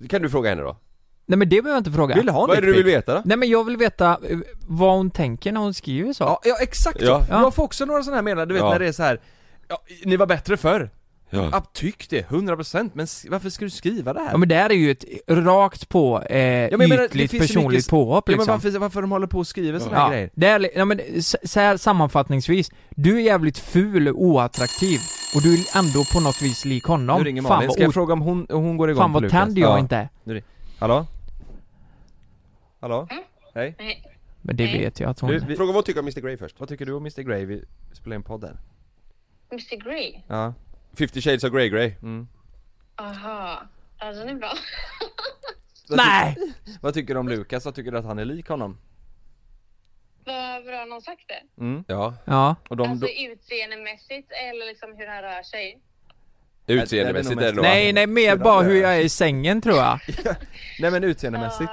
Speaker 6: Kan du fråga henne då?
Speaker 9: nej men det behöver jag inte fråga.
Speaker 7: Vill du ha en
Speaker 6: Vad är det du
Speaker 7: dickpic?
Speaker 6: vill veta då?
Speaker 9: Nej men jag vill veta eh, vad hon tänker när hon skriver så.
Speaker 7: Ja, ja exakt
Speaker 6: Ja.
Speaker 7: så. Jag får också några sådana här meddelanden, du vet
Speaker 6: Ja.
Speaker 7: när det är så här. Ja, ni var bättre förr.
Speaker 6: Ja.
Speaker 7: Ja. Tyck det, 100% men s- varför ska du skriva det här?
Speaker 9: Ja men det här är ju ett rakt på, eh,
Speaker 7: jag menar, det
Speaker 9: ytligt
Speaker 7: finns ju
Speaker 9: personligt
Speaker 7: mycket-
Speaker 9: påhopp
Speaker 7: Ja, men
Speaker 9: liksom.
Speaker 7: varför, varför de håller på och skriver sådana här
Speaker 9: Ja,
Speaker 7: grejer?
Speaker 9: det är, li- ja, men s- så här sammanfattningsvis, du är jävligt ful och oattraktiv och du är ändå på något vis lik honom.
Speaker 7: Nu ringer
Speaker 9: fan
Speaker 7: Malin,
Speaker 9: vad,
Speaker 7: ska jag
Speaker 9: o-
Speaker 7: fråga om hon, om hon går igång
Speaker 9: fan
Speaker 7: på
Speaker 9: vad
Speaker 7: Lukas?
Speaker 9: tänd jag
Speaker 7: Ja.
Speaker 9: inte är.
Speaker 7: Nu ring- Hallå? Hallå?
Speaker 8: Mm.
Speaker 7: Hej?
Speaker 9: Men det vet jag att hon
Speaker 7: Du,
Speaker 9: är.
Speaker 7: vi-
Speaker 6: Fråga vad hon tycker om Mr Grey först
Speaker 7: Vad tycker du om Mr Grey? Vi spelar in podden.
Speaker 8: Mr Grey?
Speaker 7: Ja. Mm.
Speaker 6: 50 shades of Grey Grey
Speaker 8: Aha. Ja, den är bra.
Speaker 9: Nej!
Speaker 7: Vad tycker du om Lukas? Vad tycker du att han är lik honom?
Speaker 8: Vad bra någon sagt det.
Speaker 7: Mm.
Speaker 6: Ja,
Speaker 9: Ja.
Speaker 7: Och de
Speaker 8: Alltså
Speaker 7: då-
Speaker 8: utseendemässigt eller liksom hur han rör sig.
Speaker 6: utseendemässigt
Speaker 7: Nej, det
Speaker 6: är det
Speaker 7: är
Speaker 6: nog
Speaker 7: nog
Speaker 9: Nej,
Speaker 6: va?
Speaker 9: nej, mer bara hur jag är i sängen tror jag.
Speaker 7: Nej men utseendemässigt.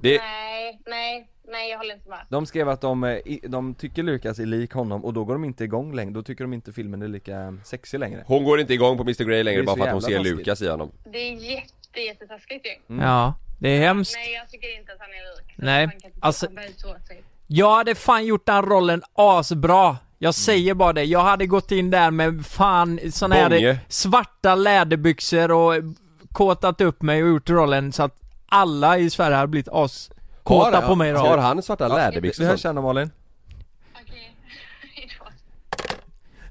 Speaker 6: det,
Speaker 8: Nej, nej, nej jag håller inte med.
Speaker 7: De skrev att de, eh, i- de tycker Lukas är lik honom och då går de inte igång längre, då tycker de inte filmen är lika eh, sexig längre.
Speaker 6: Hon går inte igång på Mr Grey
Speaker 7: Det
Speaker 6: längre
Speaker 7: är
Speaker 6: bara
Speaker 7: så
Speaker 6: för att hon ser
Speaker 7: jävla taskigt.
Speaker 6: Lukas i honom
Speaker 8: Det är jätte, jättetaskigt ju.
Speaker 9: Ja, det är hemskt.
Speaker 8: Nej jag tycker inte att han är lik.
Speaker 9: Nej,
Speaker 8: Han kan inte
Speaker 9: alltså-
Speaker 8: han bär så åt sig.
Speaker 9: Jag hade fan gjort den rollen asbra. Jag säger bara det, jag hade gått in där med fan sån
Speaker 6: Bånge.
Speaker 9: här svarta läderbyxor och kåtat upp mig och gjort rollen så att alla i Sverige hade blivit as kåta på mig då.
Speaker 6: Har han svarta läderbyxor?
Speaker 7: Du hör
Speaker 6: och sånt?
Speaker 7: känna Malin?
Speaker 8: Okej, hejdå.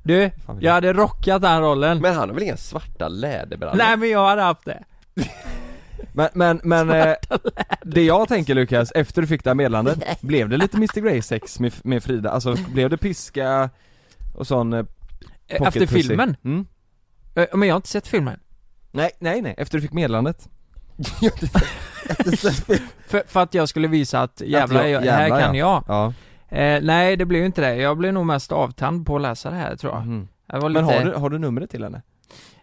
Speaker 9: Du, jag hade rockat den rollen.
Speaker 6: Men han har väl inga svarta läderbrallor?
Speaker 9: Nej men jag hade haft det.
Speaker 7: Men, men, men eh, det jag tänker Lukas, efter du fick det här meddelandet, blev det lite Mr Grey sex med, med Frida? Alltså blev det piska och sån eh, pocket
Speaker 9: Efter
Speaker 7: pussy?
Speaker 9: filmen?
Speaker 7: Mm.
Speaker 9: Eh, Men jag har inte sett filmen.
Speaker 7: Nej, nej, nej, efter du fick [LAUGHS] meddelandet.
Speaker 9: För, för att jag skulle visa att jävlar,
Speaker 7: Att
Speaker 9: jag, här
Speaker 7: [LAUGHS] jävlar,
Speaker 9: kan jag.
Speaker 7: Ja.
Speaker 9: Eh, nej det blev ju inte det, jag blev nog mest avtänd på att läsa det här tror jag.
Speaker 7: Mhm.
Speaker 9: jag var
Speaker 7: Men har
Speaker 9: lite-
Speaker 7: du, har du numret till henne?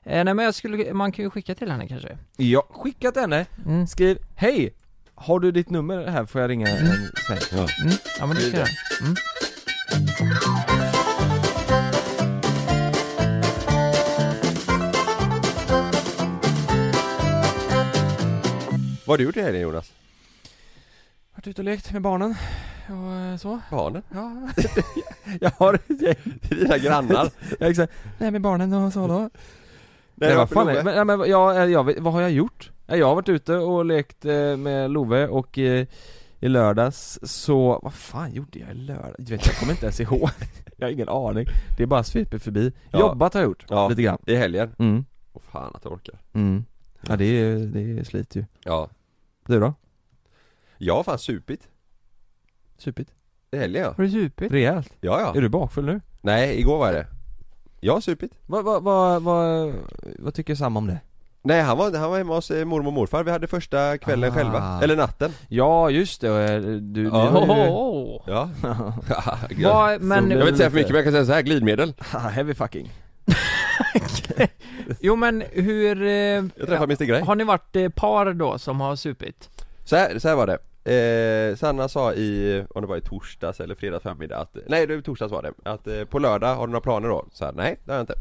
Speaker 9: Eh, nej men jag skulle, man kan ju skicka till henne kanske.
Speaker 7: Ja, skicka till henne,
Speaker 9: Mm.
Speaker 7: skriv hej! Har du ditt nummer här? Får jag ringa en sen?
Speaker 9: Mm. Ja men det ska jag. Mm.
Speaker 6: Vad har du gjort i helgen Jonas?
Speaker 7: Varit ute och lekt med barnen och eh, så.
Speaker 6: Barnen? [LAUGHS]
Speaker 7: Ja. jag har ett gäng.
Speaker 6: Dina
Speaker 7: [LAUGHS]
Speaker 6: grannar?
Speaker 7: Jag är så här, nej med barnen och så då. Nej, vad
Speaker 6: varför
Speaker 7: fan
Speaker 6: Love?
Speaker 7: är, men, ja, men jag, jag, jag, vet- vad har jag gjort? Ja, Jag har varit ute och lekt eh, med Love och eh, i lördags så, vad fan gjorde jag i lördags? Du vet jag kommer inte ens ihåg. [LAUGHS] jag har ingen aning. Det är bara sveper förbi.
Speaker 6: Ja.
Speaker 7: Jobbat har jag gjort,
Speaker 6: Ja.
Speaker 7: lite grann.
Speaker 6: I helgen?
Speaker 7: Mm.
Speaker 6: Åh fan att jag orkar
Speaker 7: Mm. Ja det är, det är slit ju.
Speaker 6: Ja
Speaker 7: Du då?
Speaker 6: Jag har fan supit
Speaker 7: Supit?
Speaker 6: i helgen ja
Speaker 9: Har du supit?
Speaker 7: Rejält.
Speaker 6: Ja ja
Speaker 7: Är du bakfull nu?
Speaker 6: Nej, igår var jag det Jag har supit
Speaker 7: Vad, vad, vad, vad, vad tycker Sam om det?
Speaker 6: Nej han var, han var hemma hos eh, mormor och morfar, vi hade första kvällen
Speaker 7: Ah.
Speaker 6: själva, eller natten
Speaker 7: Ja just det, och, eh, du, ni
Speaker 6: Ja.
Speaker 7: har ju...
Speaker 9: Ohoho.
Speaker 7: [LAUGHS]
Speaker 6: Ja
Speaker 9: Vad-
Speaker 6: Jag
Speaker 9: men,
Speaker 7: Ah,
Speaker 6: vill inte säga för mycket men jag kan säga så här glidmedel
Speaker 7: Haha, heavy fucking
Speaker 9: Jo men hur... Eh, jag
Speaker 7: träffade Mr Grey.
Speaker 9: Har ni varit eh, par då som har supit?
Speaker 7: Så här, så här var det Eh, Sanna sa i, om det var i torsdags eller fredags förmiddag att, nej det var i torsdags var det, att eh, på lördag har du några planer då? Så här, nej det har jag inte.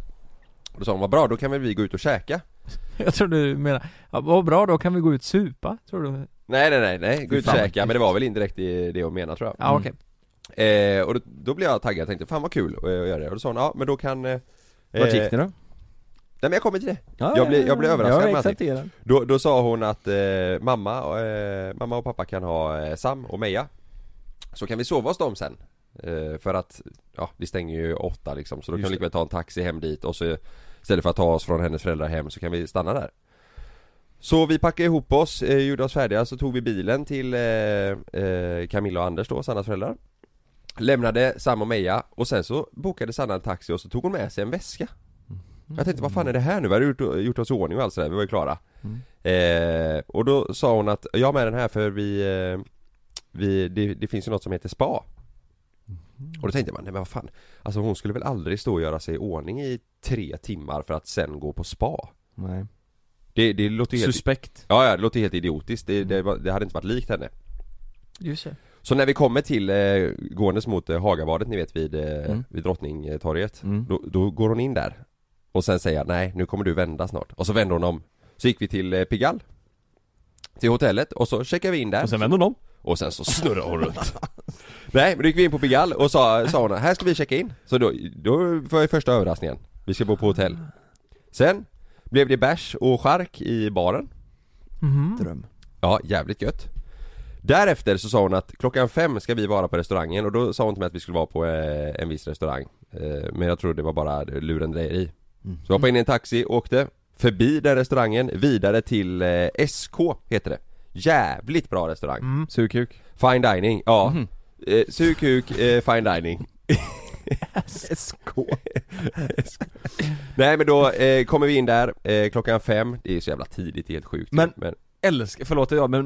Speaker 7: Och då sa hon, vad bra då kan väl vi gå ut och käka?
Speaker 9: [LAUGHS] Jag tror du menar, ja, vad bra då kan vi gå ut supa, tror du?
Speaker 7: Nej nej nej, nej gå ut och
Speaker 9: Fan, vad
Speaker 7: käka, men det var väl indirekt i det hon menade tror jag.
Speaker 9: Ja okej.
Speaker 7: Eh, och då, då blev jag taggad och tänkte, fan vad kul att, eh, att göra det. Och då sa hon, ja men då kan... Eh,
Speaker 8: Vart gick ni då?
Speaker 7: Nej men jag kommer till det. jag, blev, jag blev överraskad med
Speaker 8: Jag
Speaker 7: allting.
Speaker 8: accepterar.
Speaker 7: Då, då sa hon att eh, mamma, eh, mamma och pappa kan ha eh, Sam och Meja Så kan vi sova hos dem sen eh, För att, ja det stänger ju åtta liksom Så då kan vi lika väl ta en taxi hem dit och så Istället för att ta oss från hennes föräldrar hem så kan vi stanna där Så vi packade ihop oss, eh, gjorde oss färdiga så tog vi bilen till eh, eh, Camilla och Anders då, Sannas föräldrar Lämnade Sam och Meja och sen så bokade Sanna en taxi och så tog hon med sig en väska Jag tänkte vad fan är det här nu? Vi hade gjort, gjort oss i ordning och allt sådär, vi var ju klara Eh, och då sa hon att, jag har med den här för vi, eh, vi det, det finns ju något som heter spa Och då tänkte man, nej men vad fan Alltså hon skulle väl aldrig stå och göra sig i ordning i tre timmar för att sen gå på spa
Speaker 8: Nej.
Speaker 7: Det, det låter ju helt,
Speaker 8: Suspekt.
Speaker 7: ja, ja, det låter helt idiotiskt, det, det, var- det hade inte varit likt henne
Speaker 9: Just det.
Speaker 7: Så när vi kommer till, eh, gåendes mot eh, Hagabadet ni vet vid, eh,
Speaker 8: Mm.
Speaker 7: vid Drottningtorget
Speaker 8: Mm.
Speaker 7: då, då går hon in där Och sen säger jag, nej nu kommer du vända snart Och så vänder hon om Så gick vi till eh, Pigalle Till hotellet och så checkar vi in där
Speaker 8: Och sen vänder hon om.
Speaker 7: och sen så snurrar hon runt [LAUGHS] Nej men då gick vi in på Pigalle och sa, sa hon här ska vi checka in Så då, då var ju första överraskningen Vi ska bo på hotell Sen blev det bärs och chark i baren
Speaker 8: Dröm.
Speaker 7: Ja, jävligt gött Därefter så sa hon att klockan fem ska vi vara på restaurangen och då sa hon till mig att vi skulle vara på eh, en viss restaurang eh, Men jag tror det var bara lurendrejeri Så jag hoppade in i en taxi, åkte förbi den restaurangen, vidare till eh, SK heter det Jävligt bra restaurang
Speaker 8: Mm. Sugkuk.
Speaker 7: Fine dining, ja.
Speaker 8: Mhm.
Speaker 7: Eh, sug kuk, eh,
Speaker 8: [LAUGHS]
Speaker 7: fine dining.
Speaker 8: SK.
Speaker 7: [LAUGHS] Nej men då eh, kommer vi in där eh, klockan fem, det är så jävla tidigt, det är helt sjukt.
Speaker 8: Men-
Speaker 7: men
Speaker 8: Älskar, förlåt jag men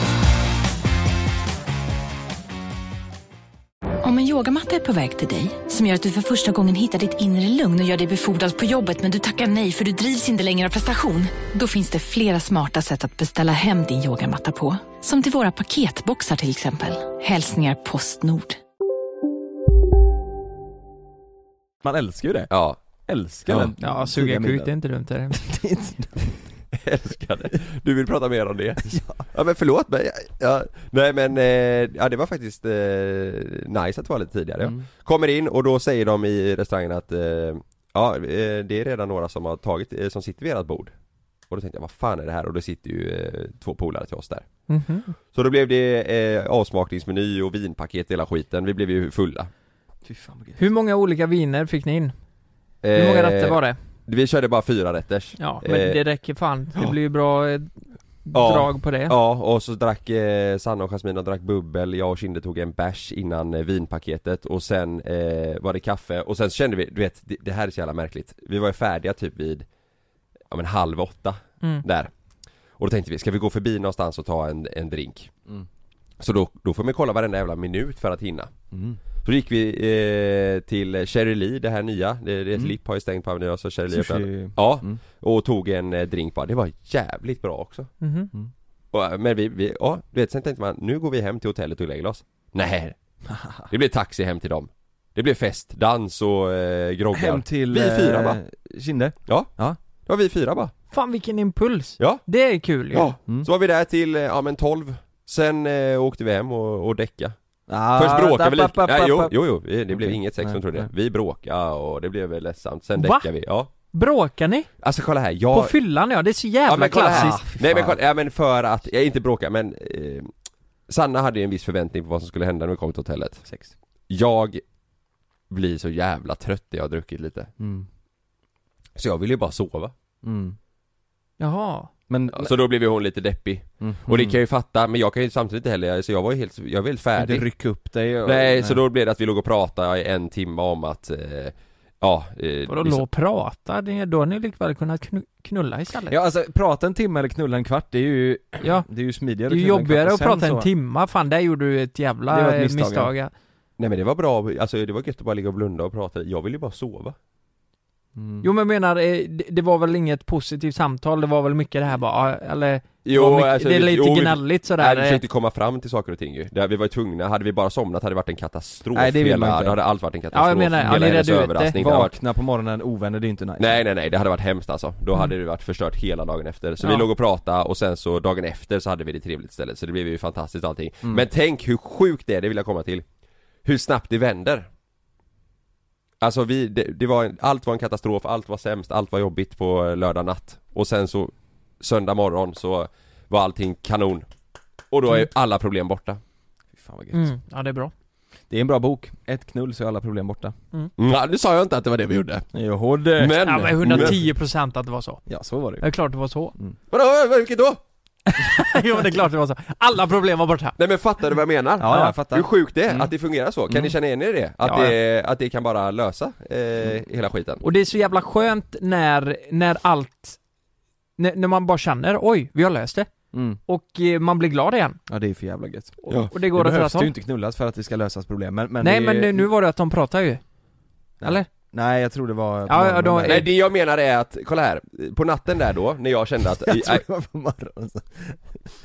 Speaker 10: Om en yogamatta är på väg till dig, som gör att du för första gången hittar ditt inre lugn och gör dig befordrad på jobbet men du tackar nej för du drivs inte längre av prestation. Då finns det flera smarta sätt att beställa hem din yogamatta på. Som till våra paketboxar till exempel. Hälsningar Postnord.
Speaker 8: man älskar ju det.
Speaker 7: ja,
Speaker 8: Älskar
Speaker 7: Ja.
Speaker 8: den.
Speaker 9: Ja, suga kuk det är inte dumt är det.
Speaker 7: [LAUGHS] älskade. Du vill prata mer om det? ja. men förlåt mig. Ja, nej men, eh, ja det var faktiskt eh, nice att vara lite tidigare. ja.
Speaker 9: Mm.
Speaker 7: Kommer in och då säger de i restaurangen att, eh, ja eh, det är redan några som har tagit, eh, som sitter vid ert bord. Och då tänkte jag, vad fan är det här? Och då sitter ju eh, två polare till oss där.
Speaker 9: Mhm.
Speaker 7: Så då blev det eh, avsmakningsmeny och vinpaket hela skiten, vi blev ju fulla
Speaker 8: Fy fan vad gött.
Speaker 9: Hur många olika viner fick ni in? Hur många
Speaker 7: Eh,
Speaker 9: rätter var det?
Speaker 7: Vi körde bara fyra rätters
Speaker 9: Ja, men det räcker fan. Det blir ju bra eh,
Speaker 7: eh, Ja.
Speaker 9: drag på det.
Speaker 7: Ja, och så drack eh, Sanna och Jasmina drack bubbel, jag och Kinde tog en bärs innan eh, vinpaketet och sen eh, var det kaffe och sen så kände vi, du vet, det, det här är så jävla märkligt Vi var ju färdiga typ vid, ja men halv åtta,
Speaker 9: Mm.
Speaker 7: där Och då tänkte vi, ska vi gå förbi någonstans och ta en, en drink?
Speaker 8: Mm.
Speaker 7: Så då, då får man kolla varenda jävla minut för att hinna
Speaker 8: Mm.
Speaker 7: Så gick vi eh, till Cherry Lee, det här nya, det, det
Speaker 8: Mm.
Speaker 7: Lipp har ju stängt på Avenyn så Cherry Lee
Speaker 8: Sushi.
Speaker 7: öppnade Ja,
Speaker 8: Mm.
Speaker 7: och tog en eh, drink bara, det var jävligt bra också
Speaker 9: Mhm.
Speaker 8: Mm-hmm.
Speaker 7: och, eh, men vi, vi, ja, du vet, sen tänkte man, nu går vi hem till hotellet och lägger oss
Speaker 8: [LAUGHS]
Speaker 7: Nej, det blir taxi hem till dem Det blir fest, dans och eh, groggar
Speaker 8: Hem till...
Speaker 7: Vi fyra va?
Speaker 8: eh, Kinde?
Speaker 7: Ja.
Speaker 8: Ja.
Speaker 7: Det var vi fyra bara.
Speaker 9: Fan vilken impuls!
Speaker 7: Ja.
Speaker 9: Det är kul ju.
Speaker 7: Ja, så var vi där till, eh, ja men 12 Sen eh, åkte vi hem och, och däckade
Speaker 8: Ah,
Speaker 7: Först bråkade vi lite, ja, jo, jo, jo, vi- det blev
Speaker 8: Okej.
Speaker 7: inget sex
Speaker 8: Nej,
Speaker 7: som trodde det
Speaker 8: nej.
Speaker 7: Vi bråkade och det blev väl ledsamt, sen
Speaker 9: Va?
Speaker 7: däckade vi, ja
Speaker 9: Bråkar ni?
Speaker 7: Alltså kolla här, jag...
Speaker 9: På fyllan ja, det är så
Speaker 7: ja,
Speaker 9: jävla
Speaker 7: men kolla här.
Speaker 9: klassiskt.
Speaker 7: Nej men kolla, ja, men för att, jag inte bråka men eh, Sanna hade ju en viss förväntning på vad som skulle hända när vi kom till hotellet Sex. Jag blir så jävla trött när jag har druckit lite
Speaker 8: Mm.
Speaker 7: Så jag ville ju bara sova
Speaker 8: Mm.
Speaker 9: Jaha.
Speaker 8: Men,
Speaker 7: Ja, Så då blev ju hon lite deppig.
Speaker 8: Mhm.
Speaker 7: Och det kan jag ju fatta, men jag kan ju samtidigt inte heller, så jag var ju helt, jag var helt färdig.
Speaker 8: Inte rycka upp dig och-
Speaker 7: nej,
Speaker 8: nej.
Speaker 7: så då blev det att vi låg och pratade i en timme om att, eh, ja... Eh,
Speaker 8: typ
Speaker 9: Vadå låg och prata? Det- Då har ni likväl kunnat knu- knulla istället.
Speaker 8: Ja alltså prata en timme eller knulla en kvart, det är ju,
Speaker 9: Ja.
Speaker 8: det är ju smidigare
Speaker 9: det är ju
Speaker 8: att knulla en kvart.
Speaker 9: jobbigare
Speaker 8: Och
Speaker 9: att
Speaker 8: sen
Speaker 9: prata en
Speaker 8: så-
Speaker 9: timma, fan där gjorde du ett jävla
Speaker 8: Det var ett
Speaker 9: eh,
Speaker 8: misstag,
Speaker 9: misstag.
Speaker 8: ja.
Speaker 9: ja.
Speaker 7: Nej men det var bra, alltså det var gött att bara ligga och blunda och prata, jag ville ju bara sova.
Speaker 8: Mm.
Speaker 9: Jo men jag menar, eh, det- det var väl inget positivt samtal, det var väl mycket det här bara, ah, eller? det var
Speaker 8: alltså,
Speaker 9: mycket, det är
Speaker 7: vi-
Speaker 9: lite
Speaker 7: jo, vi-
Speaker 9: gnälligt
Speaker 7: Nej,
Speaker 9: sådär.
Speaker 7: vi försökte komma fram till saker och ting ju. Där vi var ju tvungna, hade vi bara somnat hade det varit en katastrof
Speaker 8: Nej, det vill man
Speaker 7: hela,
Speaker 8: inte.
Speaker 7: då hade allt varit en katastrof.
Speaker 8: Ja, jag menar, ja, ni
Speaker 7: hela hennes
Speaker 8: redde ut det.
Speaker 7: överraskning. hade varit-
Speaker 8: Vakna på morgonen ovänner, det är inte nice.
Speaker 7: Nej nej nej, det hade varit hemskt alltså. Då hade
Speaker 8: Mm.
Speaker 7: det varit förstört hela dagen efter. Så
Speaker 8: Ja.
Speaker 7: vi låg och pratade och sen så dagen efter så hade vi det trevligt istället. Så det blev ju fantastiskt allting.
Speaker 8: Mm.
Speaker 7: Men tänk hur sjukt det är, det vill jag komma till. Hur snabbt det vänder. Alltså vi, det, det var, en- allt var en katastrof, allt var sämst, allt var jobbigt på eh, lördag natt. Och sen så söndag morgon så var allting kanon. Och då är
Speaker 9: Mm.
Speaker 7: alla problem borta.
Speaker 8: Fan vad gött.
Speaker 9: Mm. Ja det är bra.
Speaker 8: Det är en bra bok. Ett knull så är alla problem borta.
Speaker 9: Mm.
Speaker 7: Ja, nu sa jag inte att det var det vi gjorde.
Speaker 8: Jo, det.
Speaker 7: Men-
Speaker 9: ja men 110 procent att det var så.
Speaker 8: Ja, så var det
Speaker 9: Det är klart det var så.
Speaker 8: Mm.
Speaker 7: Vadå, vilket då?
Speaker 9: [LAUGHS] jo men det är klart det var så. Alla problem var borta.
Speaker 7: Nej men fattar du vad jag menar?
Speaker 9: Ja, jag fattar.
Speaker 7: Hur sjukt det är
Speaker 9: Mm.
Speaker 7: att det fungerar så, kan
Speaker 9: Mm.
Speaker 7: ni känna igen er i det? Att,
Speaker 9: Ja, ja.
Speaker 7: det, att det kan bara lösa eh,
Speaker 8: Mm.
Speaker 7: hela skiten?
Speaker 9: Och det är så jävla skönt när, när allt, när, när man bara känner oj, vi har löst det.
Speaker 8: Mm.
Speaker 9: Och eh, man blir glad igen.
Speaker 8: Ja det är för jävla gött.
Speaker 9: Ja. och det går åt rätt
Speaker 8: behövs
Speaker 9: håll.
Speaker 8: ju inte knullas för att det ska lösas problem men, men
Speaker 9: Nej
Speaker 8: det är
Speaker 9: men
Speaker 8: ju...
Speaker 9: nu, nu var det att de pratade ju.
Speaker 8: Nej.
Speaker 9: eller?
Speaker 8: Nej jag tror det var på
Speaker 9: Ja, ja,
Speaker 8: morgonen
Speaker 9: de-
Speaker 8: där.
Speaker 7: Nej det jag menar är att, kolla här, på natten där då, när jag kände att...
Speaker 8: [LAUGHS] Jag tror
Speaker 7: nej,
Speaker 8: det var på morgonen så.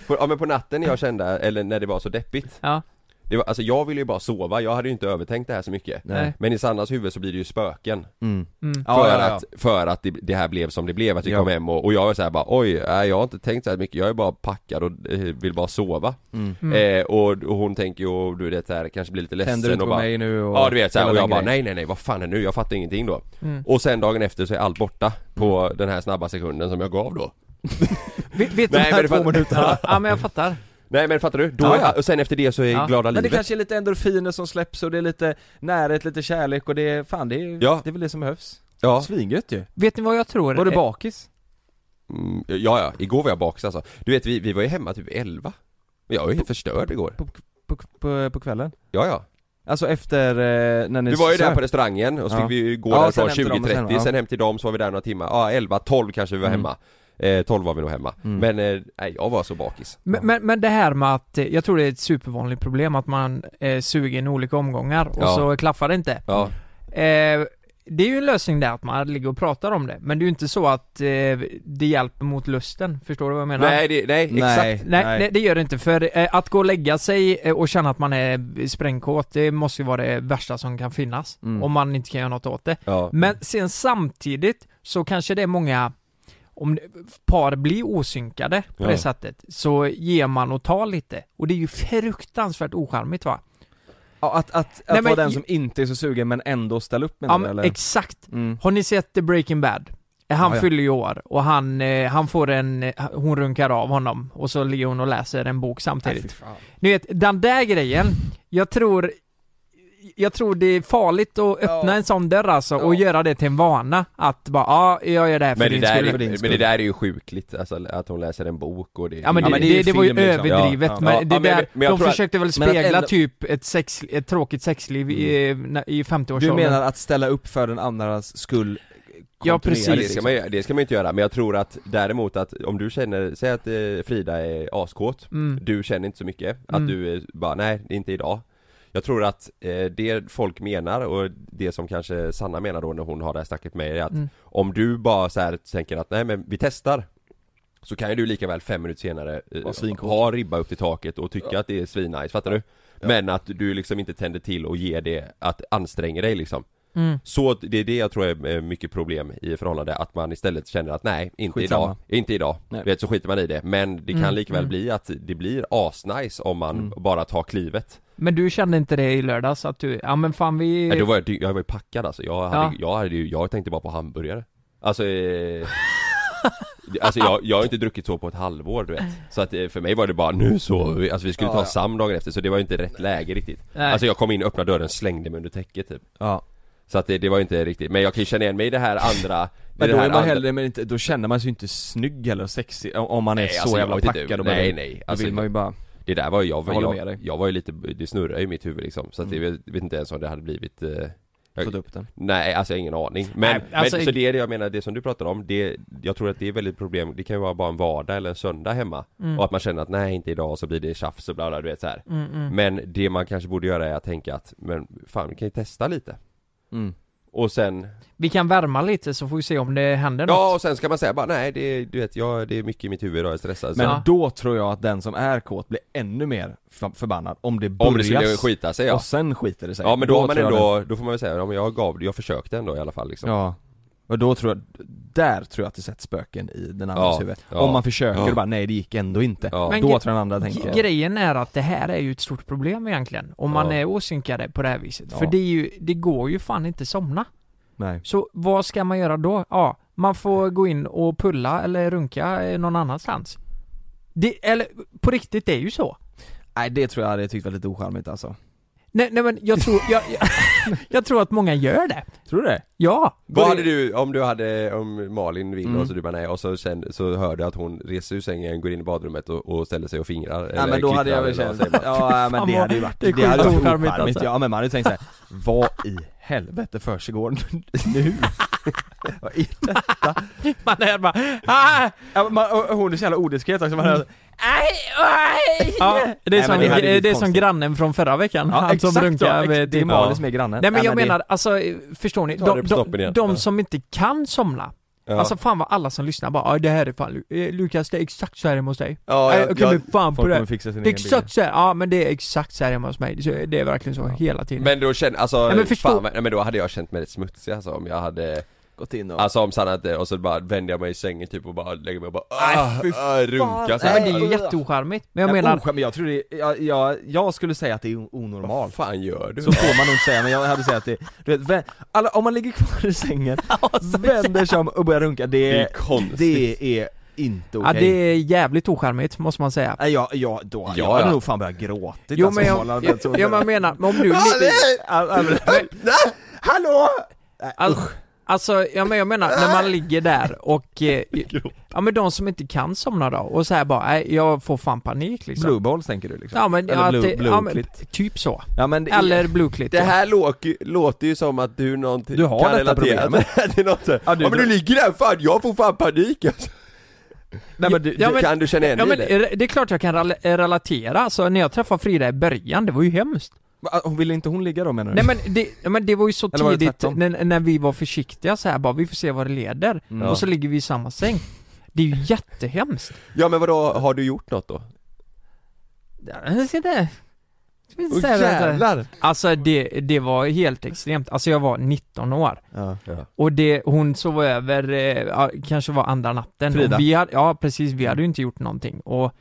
Speaker 7: på, ja men på natten när jag kände, eller när det var så deppigt
Speaker 9: Ja.
Speaker 7: det var, Alltså jag ville ju bara sova, jag hade ju inte övertänkt det här så mycket
Speaker 8: Nej.
Speaker 7: Men i Sannas huvud så blir det ju spöken
Speaker 8: Mm. Mm.
Speaker 7: För,
Speaker 8: Ja, ja, ja.
Speaker 7: Att, för att det, det här blev som det blev, att vi
Speaker 8: Ja.
Speaker 7: kom hem och, och jag var såhär bara oj, nej, jag har inte tänkt så här mycket, jag är bara packad och eh, vill bara sova
Speaker 8: Mm.
Speaker 7: Eh, och, och hon tänker ju, och du vet såhär, kanske blir lite
Speaker 8: [LAUGHS] Tänder
Speaker 7: ledsen
Speaker 8: du inte
Speaker 7: och
Speaker 8: på
Speaker 7: bara,
Speaker 8: mig nu och
Speaker 7: Ja du vet såhär,
Speaker 8: hela
Speaker 7: och
Speaker 8: den
Speaker 7: jag bara
Speaker 8: grejen.
Speaker 7: nej nej nej vad fan är nu, jag fattar ingenting då
Speaker 9: Mm.
Speaker 7: Och sen dagen efter så är allt borta på
Speaker 8: Mm.
Speaker 7: den här snabba sekunden som jag gav då
Speaker 9: Vet, vet
Speaker 7: Nej,
Speaker 9: du
Speaker 7: men det fatt-
Speaker 9: Ja, ja men jag fattar.
Speaker 7: Nej men fattar du? Då,
Speaker 8: Ja, ja.
Speaker 7: Och sen efter det så är
Speaker 9: Ja.
Speaker 7: glada
Speaker 8: Men det
Speaker 7: livet
Speaker 8: kanske är lite endorfiner som släpps och det är lite närhet, lite kärlek och det är, fan det är,
Speaker 7: Ja.
Speaker 8: det är väl det som behövs?
Speaker 7: Ja.
Speaker 8: Svingött ju!
Speaker 9: Vet ni vad jag tror?
Speaker 8: Var du
Speaker 9: Eh,
Speaker 8: bakis?
Speaker 7: mm, Ja ja, igår var jag bakis alltså Du vet vi, vi var ju hemma typ 11 Jag var ju helt förstörd igår
Speaker 8: På, på, på kvällen?
Speaker 7: Ja ja
Speaker 8: Alltså efter, eh, när ni
Speaker 7: Du var ju där
Speaker 8: söp?
Speaker 7: på restaurangen och så
Speaker 8: Ja.
Speaker 7: fick vi ju gå
Speaker 8: Ja,
Speaker 7: därifrån
Speaker 8: sen hem till dem och
Speaker 7: 20.30
Speaker 8: sen,
Speaker 7: sen,
Speaker 8: ja.
Speaker 7: hem till dem så var vi där några timmar, ja 11, 12 kanske vi var
Speaker 8: Mm.
Speaker 7: hemma eh, 12 var vi nog hemma,
Speaker 8: Mm.
Speaker 7: men eh, nej jag var så bakis
Speaker 9: Men, men, men det här med att, eh, jag tror det är ett supervanligt problem att man eh, suger i olika omgångar och
Speaker 7: Ja.
Speaker 9: så klaffar det inte.
Speaker 7: Ja,
Speaker 9: Eh, det är ju en lösning där att man ligger och pratar om det, men det är ju inte så att eh, det hjälper mot lusten, förstår du vad jag menar?
Speaker 7: nej, det, nej exakt
Speaker 9: Nej, nej, det gör det inte. För eh, att gå och lägga sig eh, och känna att man är sprängkåt, det måste ju vara det värsta som kan finnas.
Speaker 8: Mm.
Speaker 9: Om man inte kan göra något åt det.
Speaker 7: Ja.
Speaker 9: Men sen samtidigt så kanske det är många, om det- par blir osynkade på
Speaker 8: Ja.
Speaker 9: det sättet, så ger man och tar lite. Och det är ju fruktansvärt ocharmigt va?
Speaker 8: Ja, att, att, att
Speaker 9: Nej, men-
Speaker 8: vara den som inte är så sugen men ändå ställa upp med
Speaker 9: Ja,
Speaker 8: det,
Speaker 9: men
Speaker 8: eller?
Speaker 9: exakt.
Speaker 8: Mm.
Speaker 9: Har ni sett The Breaking Bad? Eh, Han
Speaker 8: Ja, ja.
Speaker 9: fyller ju år och han, eh, han får en, eh, hon runkar av honom och så ligger hon och läser en bok
Speaker 8: Nej,
Speaker 9: samtidigt.
Speaker 8: fy fan.
Speaker 9: Ni vet, den där grejen, jag tror jag tror det är farligt att öppna en sån dörr alltså och göra det till en vana att bara ja, jag gör det här för
Speaker 7: Men det,
Speaker 9: din
Speaker 7: där
Speaker 9: skull.
Speaker 7: är, men det där är ju sjukligt, alltså att hon läser en bok och det liksom.
Speaker 9: Ja men det, det, det, var ju
Speaker 8: liksom.
Speaker 9: överdrivet, men det
Speaker 7: Ja,
Speaker 9: där,
Speaker 7: jag
Speaker 9: de
Speaker 7: tror att-
Speaker 9: försökte väl
Speaker 8: men att
Speaker 9: spegla
Speaker 8: ändå-
Speaker 9: typ ett, sex, ett tråkigt sexliv i, na- i 50-årsåldern.
Speaker 8: Du menar att ställa upp för den andras skull? eh,
Speaker 9: Ja, precis.
Speaker 8: kontinuerligt,
Speaker 7: Ja, det, ska
Speaker 8: liksom.
Speaker 7: man, ju- det ska man ju inte göra, men jag tror att däremot att om du känner, säg att eh, Frida är askåt,
Speaker 8: Mm.
Speaker 7: du känner inte så mycket, att
Speaker 8: Mm.
Speaker 7: du eh, bara nej, inte idag Jag tror att eh, det folk menar och det som kanske Sanna menar då när hon har det här snacket med er är att
Speaker 8: Mm.
Speaker 7: om du bara så här tänker att nej men vi testar så kan ju du lika väl fem minuter senare
Speaker 8: Vara
Speaker 7: eh,
Speaker 8: svinkåt.
Speaker 7: ha ribba upp till taket och tycka att det är svinnice, fattar du? Men att du liksom inte tänder till och ger det, att anstränger dig liksom
Speaker 9: Mm.
Speaker 7: Så att det är det jag tror är eh, mycket problem i förhållande, att man istället känner att nej, inte
Speaker 8: Skitsamma.
Speaker 7: idag, inte idag,
Speaker 8: Nej.
Speaker 7: vet så skiter man i det, men det kan
Speaker 9: Mm,
Speaker 7: likväl
Speaker 9: mm.
Speaker 7: bli att det blir asnice om man
Speaker 9: Mm.
Speaker 7: bara tar klivet
Speaker 9: Men du kände inte det i lördags att du, ja men fan vi...
Speaker 7: Nej, då var jag, dy- jag var ju packad alltså, jag hade,
Speaker 9: Ja.
Speaker 7: jag hade ju, jag tänkte bara på hamburgare
Speaker 8: [LAUGHS]
Speaker 7: Alltså, eh, alltså jag, jag har inte druckit så på ett halvår du vet Så att eh, för mig var det bara nu så, vi- alltså vi skulle
Speaker 8: Ja,
Speaker 7: ta
Speaker 8: ja.
Speaker 7: SAM dagen efter så det var ju inte rätt läge riktigt
Speaker 8: Nej.
Speaker 7: Alltså jag kom in, öppnade dörren, slängde mig under täcket typ
Speaker 8: Ja
Speaker 7: Så att det, det var ju inte riktigt, men jag kan ju känna igen mig i det här andra i
Speaker 8: Men
Speaker 7: det
Speaker 8: då
Speaker 7: här
Speaker 8: är man
Speaker 7: andra-
Speaker 8: hellre, men inte, då känner man sig ju inte snygg eller sexig om om man är
Speaker 7: Nej,
Speaker 8: så
Speaker 7: alltså, jag
Speaker 8: jävla
Speaker 7: vet inte.
Speaker 8: packad och bara,
Speaker 7: Nej nej,
Speaker 8: Då vill man ju bara
Speaker 7: Det där var ju, jag, var-
Speaker 8: Jag håller
Speaker 7: jag,
Speaker 8: med
Speaker 7: jag,
Speaker 8: dig. Mm.
Speaker 7: var ju lite, det snurrade i mitt huvud liksom Så att det, jag vet inte ens om det hade blivit eh, jag,
Speaker 8: Fått upp den.
Speaker 7: Nej, alltså jag har ingen aning men,
Speaker 8: Nej, alltså-
Speaker 7: men, så det är det jag menar, det som du pratar om det, Jag tror att det är väldigt problem, det kan ju vara bara en vardag eller en söndag hemma
Speaker 8: Mm.
Speaker 7: Och att man känner att nej inte idag, så blir det tjafs och bla bla, du vet så här.
Speaker 8: Mm, mm.
Speaker 7: Men det man kanske borde göra är att tänka att, men fan vi kan ju testa lite
Speaker 8: Mm.
Speaker 7: Och sen
Speaker 9: Vi kan värma lite så får vi se om det händer något.
Speaker 7: Ja och sen ska man säga bara nej det, du vet jag, det är mycket i mitt huvud idag, jag är stressad
Speaker 8: Men
Speaker 7: så,
Speaker 8: då tror jag att den som är kåt blir ännu mer f- förbannad om det börjar
Speaker 7: Om det skulle skita sig ja
Speaker 8: Och sen skiter det sig
Speaker 7: Ja men då, har man
Speaker 8: tror jag
Speaker 7: ändå, då får man väl säga, ja, men jag gav det, jag försökte ändå i alla fall liksom
Speaker 8: Ja, och då tror jag, där tror jag att det sätts spöken i den andras
Speaker 7: Ja,
Speaker 8: huvud
Speaker 7: ja.
Speaker 8: Om man försöker
Speaker 7: Ja.
Speaker 8: och bara, nej det gick ändå inte
Speaker 9: Men
Speaker 8: Då
Speaker 9: gre-
Speaker 8: tror jag den andra tänker
Speaker 9: G- Grejen är att det här är ju ett stort problem egentligen, om man
Speaker 8: Ja.
Speaker 9: är åsynkade på det här viset. För
Speaker 8: Ja.
Speaker 9: det, är ju, det går ju fan inte somna.
Speaker 8: Nej
Speaker 9: Så vad ska man göra då? Ja, man får gå in och pulla eller runka eh, någon annanstans. Det, eller på riktigt, det är ju så.
Speaker 8: Nej det tror jag hade tyckt var lite ocharmigt alltså
Speaker 9: Nej, nej men jag tror, jag,
Speaker 8: [LAUGHS]
Speaker 9: jag, jag tror att många gör det.
Speaker 8: Tror du det?
Speaker 9: Ja!
Speaker 7: Vad
Speaker 9: Går
Speaker 7: hade
Speaker 9: in-
Speaker 7: du, om du hade, om Malin vinner
Speaker 8: Mm.
Speaker 7: och så du bara nej och så sen så hör du att hon reser ur sängen, går in i badrummet och, och ställer sig och fingrar
Speaker 8: Ja men då hade jag väl känt, ja men det hade ju varit,
Speaker 9: det är
Speaker 8: det hade
Speaker 9: sjukt
Speaker 8: varit
Speaker 9: ocharmigt,
Speaker 8: ocharmigt
Speaker 9: alltså.
Speaker 8: Ja men man hade ju tänkt såhär, vad i helvete försiggår nu? [LAUGHS] vad är detta?
Speaker 9: Man är bara, ah!
Speaker 8: Ja, man, och hon är så jävlaodiskret också, man hör
Speaker 9: Ja, det är
Speaker 8: Nej,
Speaker 9: som,
Speaker 8: men det
Speaker 9: det
Speaker 8: hade blivit
Speaker 9: är som
Speaker 8: konstigt.
Speaker 9: grannen från förra veckan,
Speaker 8: Ja,
Speaker 9: han som
Speaker 8: exakt
Speaker 9: runkade
Speaker 8: så.
Speaker 9: med
Speaker 8: Det är
Speaker 9: din-
Speaker 8: Malin som är grannen.
Speaker 9: Nej men
Speaker 8: Nej,
Speaker 9: jag
Speaker 8: men det-
Speaker 9: menar, alltså förstår ni?
Speaker 8: Ta
Speaker 9: De,
Speaker 8: det på
Speaker 9: de,
Speaker 8: snoppen
Speaker 9: de,
Speaker 8: igen. Ja.
Speaker 9: som inte kan somla,
Speaker 8: Ja.
Speaker 9: alltså fan vad alla som lyssnar bara "Ja, det här är fan, Lu- eh, Lukas det är exakt så här hemma hos dig
Speaker 8: Ja,
Speaker 9: Nej,
Speaker 8: jag-
Speaker 9: jag, kan
Speaker 8: jag-
Speaker 9: bli fan på
Speaker 8: folk
Speaker 9: det
Speaker 8: kommer fixa sin
Speaker 9: Det är
Speaker 8: egen bil.
Speaker 9: exakt så här, ja men det är exakt så här hemma hos mig, Så det är verkligen så hela tiden
Speaker 7: Men då känner, alltså,
Speaker 9: Nej, men
Speaker 7: men
Speaker 9: förstå-
Speaker 7: fan, men- nej, men då hade jag känt mig rätt smutsig alltså om jag hade
Speaker 8: Gått in och...
Speaker 7: Alltså om Sanna inte, och så bara vänder jag mig i sängen typ och bara lägger mig och bara
Speaker 8: Nej,
Speaker 7: ah,
Speaker 8: fy
Speaker 7: ah, runka så
Speaker 9: Nej,
Speaker 7: här.
Speaker 9: men det är ju jätteocharmigt, men jag menar
Speaker 8: men jag tror det, är- jag, jag, jag skulle säga att det är onormalt
Speaker 7: Vad fan gör du?
Speaker 8: Så får man nog inte säga, men jag hade sagt att det, du vet, vä- alla, om man ligger kvar i [LAUGHS] sängen, vänder sig om och börjar runka, det,
Speaker 9: Det är konstigt.
Speaker 8: det är inte okej
Speaker 9: Ja det är jävligt ocharmigt måste man säga
Speaker 8: Nej, jag, jag, då, jag
Speaker 9: Ja,
Speaker 8: hade
Speaker 9: ja.
Speaker 8: nog fan börjat gråtit
Speaker 9: Jo
Speaker 8: alltså,
Speaker 9: men jag,
Speaker 8: om alla-
Speaker 9: jag, jag, jag menar, men om du
Speaker 8: Hallå!
Speaker 9: Alltså, alltså ja, men jag menar, när man ligger där och...
Speaker 8: [LAUGHS]
Speaker 9: Eh, ja men de som inte kan somna då och så här bara, nej jag får fan panik liksom.
Speaker 8: Blue balls tänker du liksom?
Speaker 9: Ja men,
Speaker 8: Eller
Speaker 9: ja,
Speaker 8: blue,
Speaker 9: att det-
Speaker 8: blue
Speaker 9: ja, men
Speaker 8: clit.
Speaker 9: typ så.
Speaker 8: Ja, men det är-
Speaker 9: Eller blukligt.
Speaker 7: Det här låter, låter ju som att du någonting
Speaker 8: Du har
Speaker 7: kan
Speaker 8: detta
Speaker 7: relatera [LAUGHS]
Speaker 8: problemet.
Speaker 7: till något så här. ja,
Speaker 8: du
Speaker 7: men du
Speaker 8: drar-
Speaker 7: ligger där, fan jag får fan panik [LAUGHS] alltså.
Speaker 8: Nej, men du,
Speaker 9: Ja, men-
Speaker 7: Kan du känna igen
Speaker 9: ja,
Speaker 7: dig
Speaker 9: men,
Speaker 7: i det?
Speaker 9: re- det är klart jag kan rela- relatera, alltså när jag träffade Frida i början, det var ju hemskt.
Speaker 8: Va, Hon ville inte hon ligga då menar du?
Speaker 9: Nej men det, ja, men det var ju så
Speaker 8: Mm. Eller var det
Speaker 9: tidigt
Speaker 8: tvärtom?
Speaker 9: när, när vi var försiktiga så här bara, vi får se vad det leder.
Speaker 7: Mm.
Speaker 9: Och så ligger vi i samma säng. Det är ju jättehemskt.
Speaker 7: Ja men vadå, har du gjort något då?
Speaker 9: Jag ser det. Jag vill
Speaker 7: Åh,
Speaker 9: säga det.
Speaker 7: jävlar.
Speaker 9: Alltså det, det var helt extremt, alltså jag var 19 år
Speaker 8: Ja.
Speaker 9: Och det, hon sov över, eh, ja, kanske var andra natten
Speaker 8: Frida.
Speaker 9: Och vi hade, Ja precis, vi hade ju inte gjort någonting och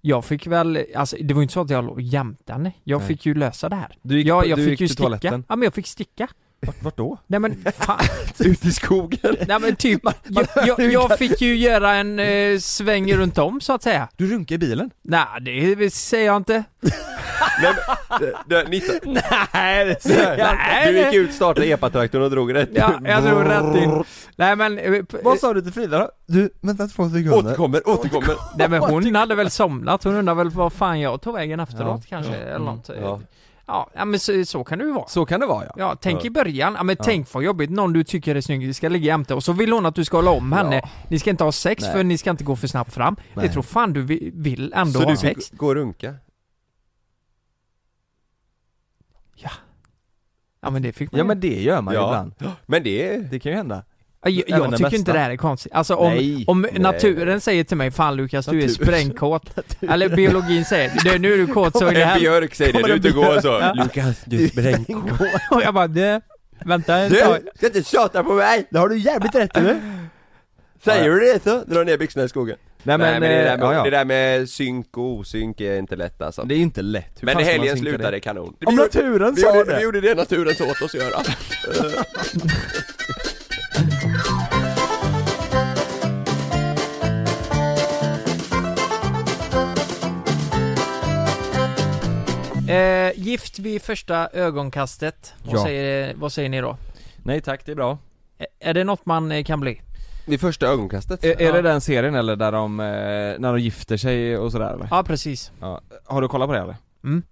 Speaker 9: jag fick väl, alltså det var ju inte så att jag låg jämte henne, jag
Speaker 8: Nej.
Speaker 9: fick ju lösa det här
Speaker 8: Du gick
Speaker 9: jag,
Speaker 8: på-
Speaker 9: jag
Speaker 8: du
Speaker 9: fick
Speaker 8: gick
Speaker 9: ju
Speaker 8: till
Speaker 9: sticka,
Speaker 8: toaletten.
Speaker 9: ja men jag fick sticka
Speaker 8: Vart, vart då?
Speaker 9: Nej
Speaker 8: [LAUGHS]
Speaker 9: men fan,
Speaker 7: [LAUGHS] Ut
Speaker 9: [LAUGHS]
Speaker 7: i skogen?
Speaker 9: nej men typ, jag, jag, jag fick ju göra en eh, sväng runt om så att säga
Speaker 8: Du runkade i bilen?
Speaker 9: Nej det säger jag inte
Speaker 7: Du, 19.
Speaker 9: [LAUGHS] Nej det
Speaker 7: Du gick ut, startade epatraktorn och drog rätt
Speaker 9: Ja,
Speaker 8: [LAUGHS]
Speaker 9: jag drog rätt in. Nej men... eh,
Speaker 8: Vad sa du till Frida då? Du, vänta två sekunder
Speaker 7: Återkommer, återkommer!
Speaker 9: Nej men hon hade väl somnat, hon undrar väl vad fan jag tog vägen efteråt
Speaker 8: Ja.
Speaker 9: kanske
Speaker 8: Ja.
Speaker 9: eller
Speaker 8: Mm.
Speaker 9: något. Ja.
Speaker 8: Ja.
Speaker 9: ja men så, så kan det ju vara.
Speaker 8: Så kan det vara ja
Speaker 9: Ja, tänk
Speaker 8: Ja.
Speaker 9: i början, ja men
Speaker 8: Ja.
Speaker 9: tänk vad jobbigt, någon du tycker är snygg ska ligga jämte och så vill hon att du ska hålla om henne, ni ska inte ha sex
Speaker 8: Nej.
Speaker 9: för ni ska inte gå för snabbt fram.
Speaker 8: Nej.
Speaker 9: Det tror fan du vi- vill ändå
Speaker 7: Så
Speaker 9: ha
Speaker 7: du
Speaker 9: sex.
Speaker 7: fick gå och runka?
Speaker 9: Ja men det fick man
Speaker 8: Ja
Speaker 9: ju.
Speaker 8: men det gör man ju
Speaker 7: Ja.
Speaker 8: ibland
Speaker 7: Men det
Speaker 8: Det kan ju hända
Speaker 9: Ja, Jag,
Speaker 8: Även
Speaker 9: jag
Speaker 8: den
Speaker 9: tycker
Speaker 8: bästa.
Speaker 9: inte det här är konstigt. Alltså om,
Speaker 8: Nej.
Speaker 9: om
Speaker 8: Nej.
Speaker 9: naturen säger till mig 'Fan Lukas, du är
Speaker 8: [LAUGHS] Natur.
Speaker 9: sprängkåt' Eller biologin säger det, 'Nu är
Speaker 8: [LAUGHS]
Speaker 9: du kåt så är det
Speaker 7: En
Speaker 9: här'
Speaker 7: björk säger det,
Speaker 9: Kommer
Speaker 7: du
Speaker 9: en
Speaker 7: inte
Speaker 9: björk?
Speaker 7: går så
Speaker 9: Ja.
Speaker 7: Lukas, du är sprängkåt
Speaker 9: Och jag bara det, Vänta ett
Speaker 7: Du,
Speaker 9: tag.
Speaker 7: ska inte tjata på mig! Det har du jävligt rätt i Säger du det så, dra ner byxorna i skogen
Speaker 8: Nej, men,
Speaker 7: det, där
Speaker 8: eh,
Speaker 7: med,
Speaker 8: ja, ja.
Speaker 7: det där med synk och osynk är inte lätt alltså
Speaker 8: Det är inte lätt, Hur
Speaker 7: Men
Speaker 8: fan ska man
Speaker 7: helgen
Speaker 8: synka
Speaker 7: slutade
Speaker 8: det?
Speaker 7: kanon
Speaker 8: Om naturen
Speaker 7: vi
Speaker 8: sa
Speaker 7: gjorde,
Speaker 8: det.
Speaker 7: Vi gjorde det naturen sa åt oss att göra Eh,
Speaker 9: Eh, gift vid första ögonkastet. Vad,
Speaker 8: Ja.
Speaker 9: säger, vad säger ni då?
Speaker 8: Nej tack, det är bra.
Speaker 9: Är det något man eh, kan bli?
Speaker 7: Vid första ögonkastet?
Speaker 8: Är, är det den serien eller där de, eh, när de gifter sig och sådär eller?
Speaker 9: Ja, precis.
Speaker 8: Ja. Har du kollat på det eller?
Speaker 9: Mm.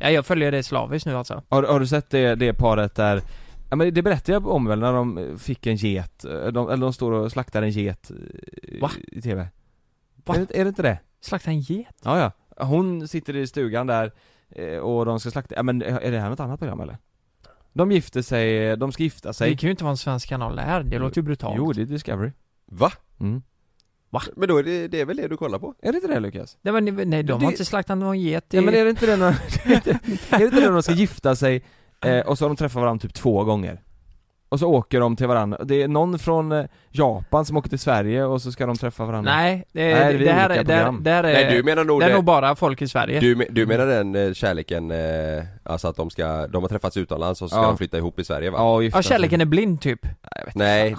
Speaker 9: Ja, jag följer det slaviskt nu alltså.
Speaker 8: Har, har du sett det, det paret där Ja men det berättade jag om väl när de eh, fick en get, eh, de, eller de står och slaktar en get i,
Speaker 9: Va?
Speaker 8: i TV
Speaker 9: Va?
Speaker 8: Är, det, är det inte det?
Speaker 9: Slakta en get?
Speaker 8: Ja, ja. Hon sitter i stugan där eh, och de ska slakta, ja men eh, är det här något annat program eller? De gifter sig, eh, de ska gifta sig
Speaker 9: Det kan ju inte vara en svensk kanal det här. Det låter ju brutalt.
Speaker 8: Jo det är Discovery
Speaker 7: Va?
Speaker 8: Mm.
Speaker 9: Va?
Speaker 7: Men då är det, det är väl det du kollar på?
Speaker 8: Är det inte det Lukas?
Speaker 9: Nej, men, ni- nej de
Speaker 8: Det-
Speaker 9: har inte slaktat någon get i...
Speaker 8: Ja men är det inte det [LAUGHS] när, är det inte det när de ska gifta sig eh, och så har de träffat varandra typ två gånger? Och så åker de till varandra, det är någon från eh, Japan som åker till Sverige och så ska de träffa varandra
Speaker 9: Nej, det,
Speaker 8: Nej,
Speaker 9: det,
Speaker 8: vi
Speaker 9: här är,
Speaker 8: olika
Speaker 9: det, här,
Speaker 8: program.
Speaker 9: det här är...
Speaker 7: Nej,
Speaker 8: Eh,
Speaker 7: du menar nog
Speaker 9: det är
Speaker 7: det-
Speaker 9: nog bara folk i Sverige.
Speaker 7: Du, me- du menar den eh, kärleken, eh, alltså att de ska, de har träffats utomlands och så ska
Speaker 9: Ja.
Speaker 7: de flytta ihop i Sverige va?
Speaker 8: Ja,
Speaker 9: ja, kärleken är blind typ.
Speaker 7: Nej,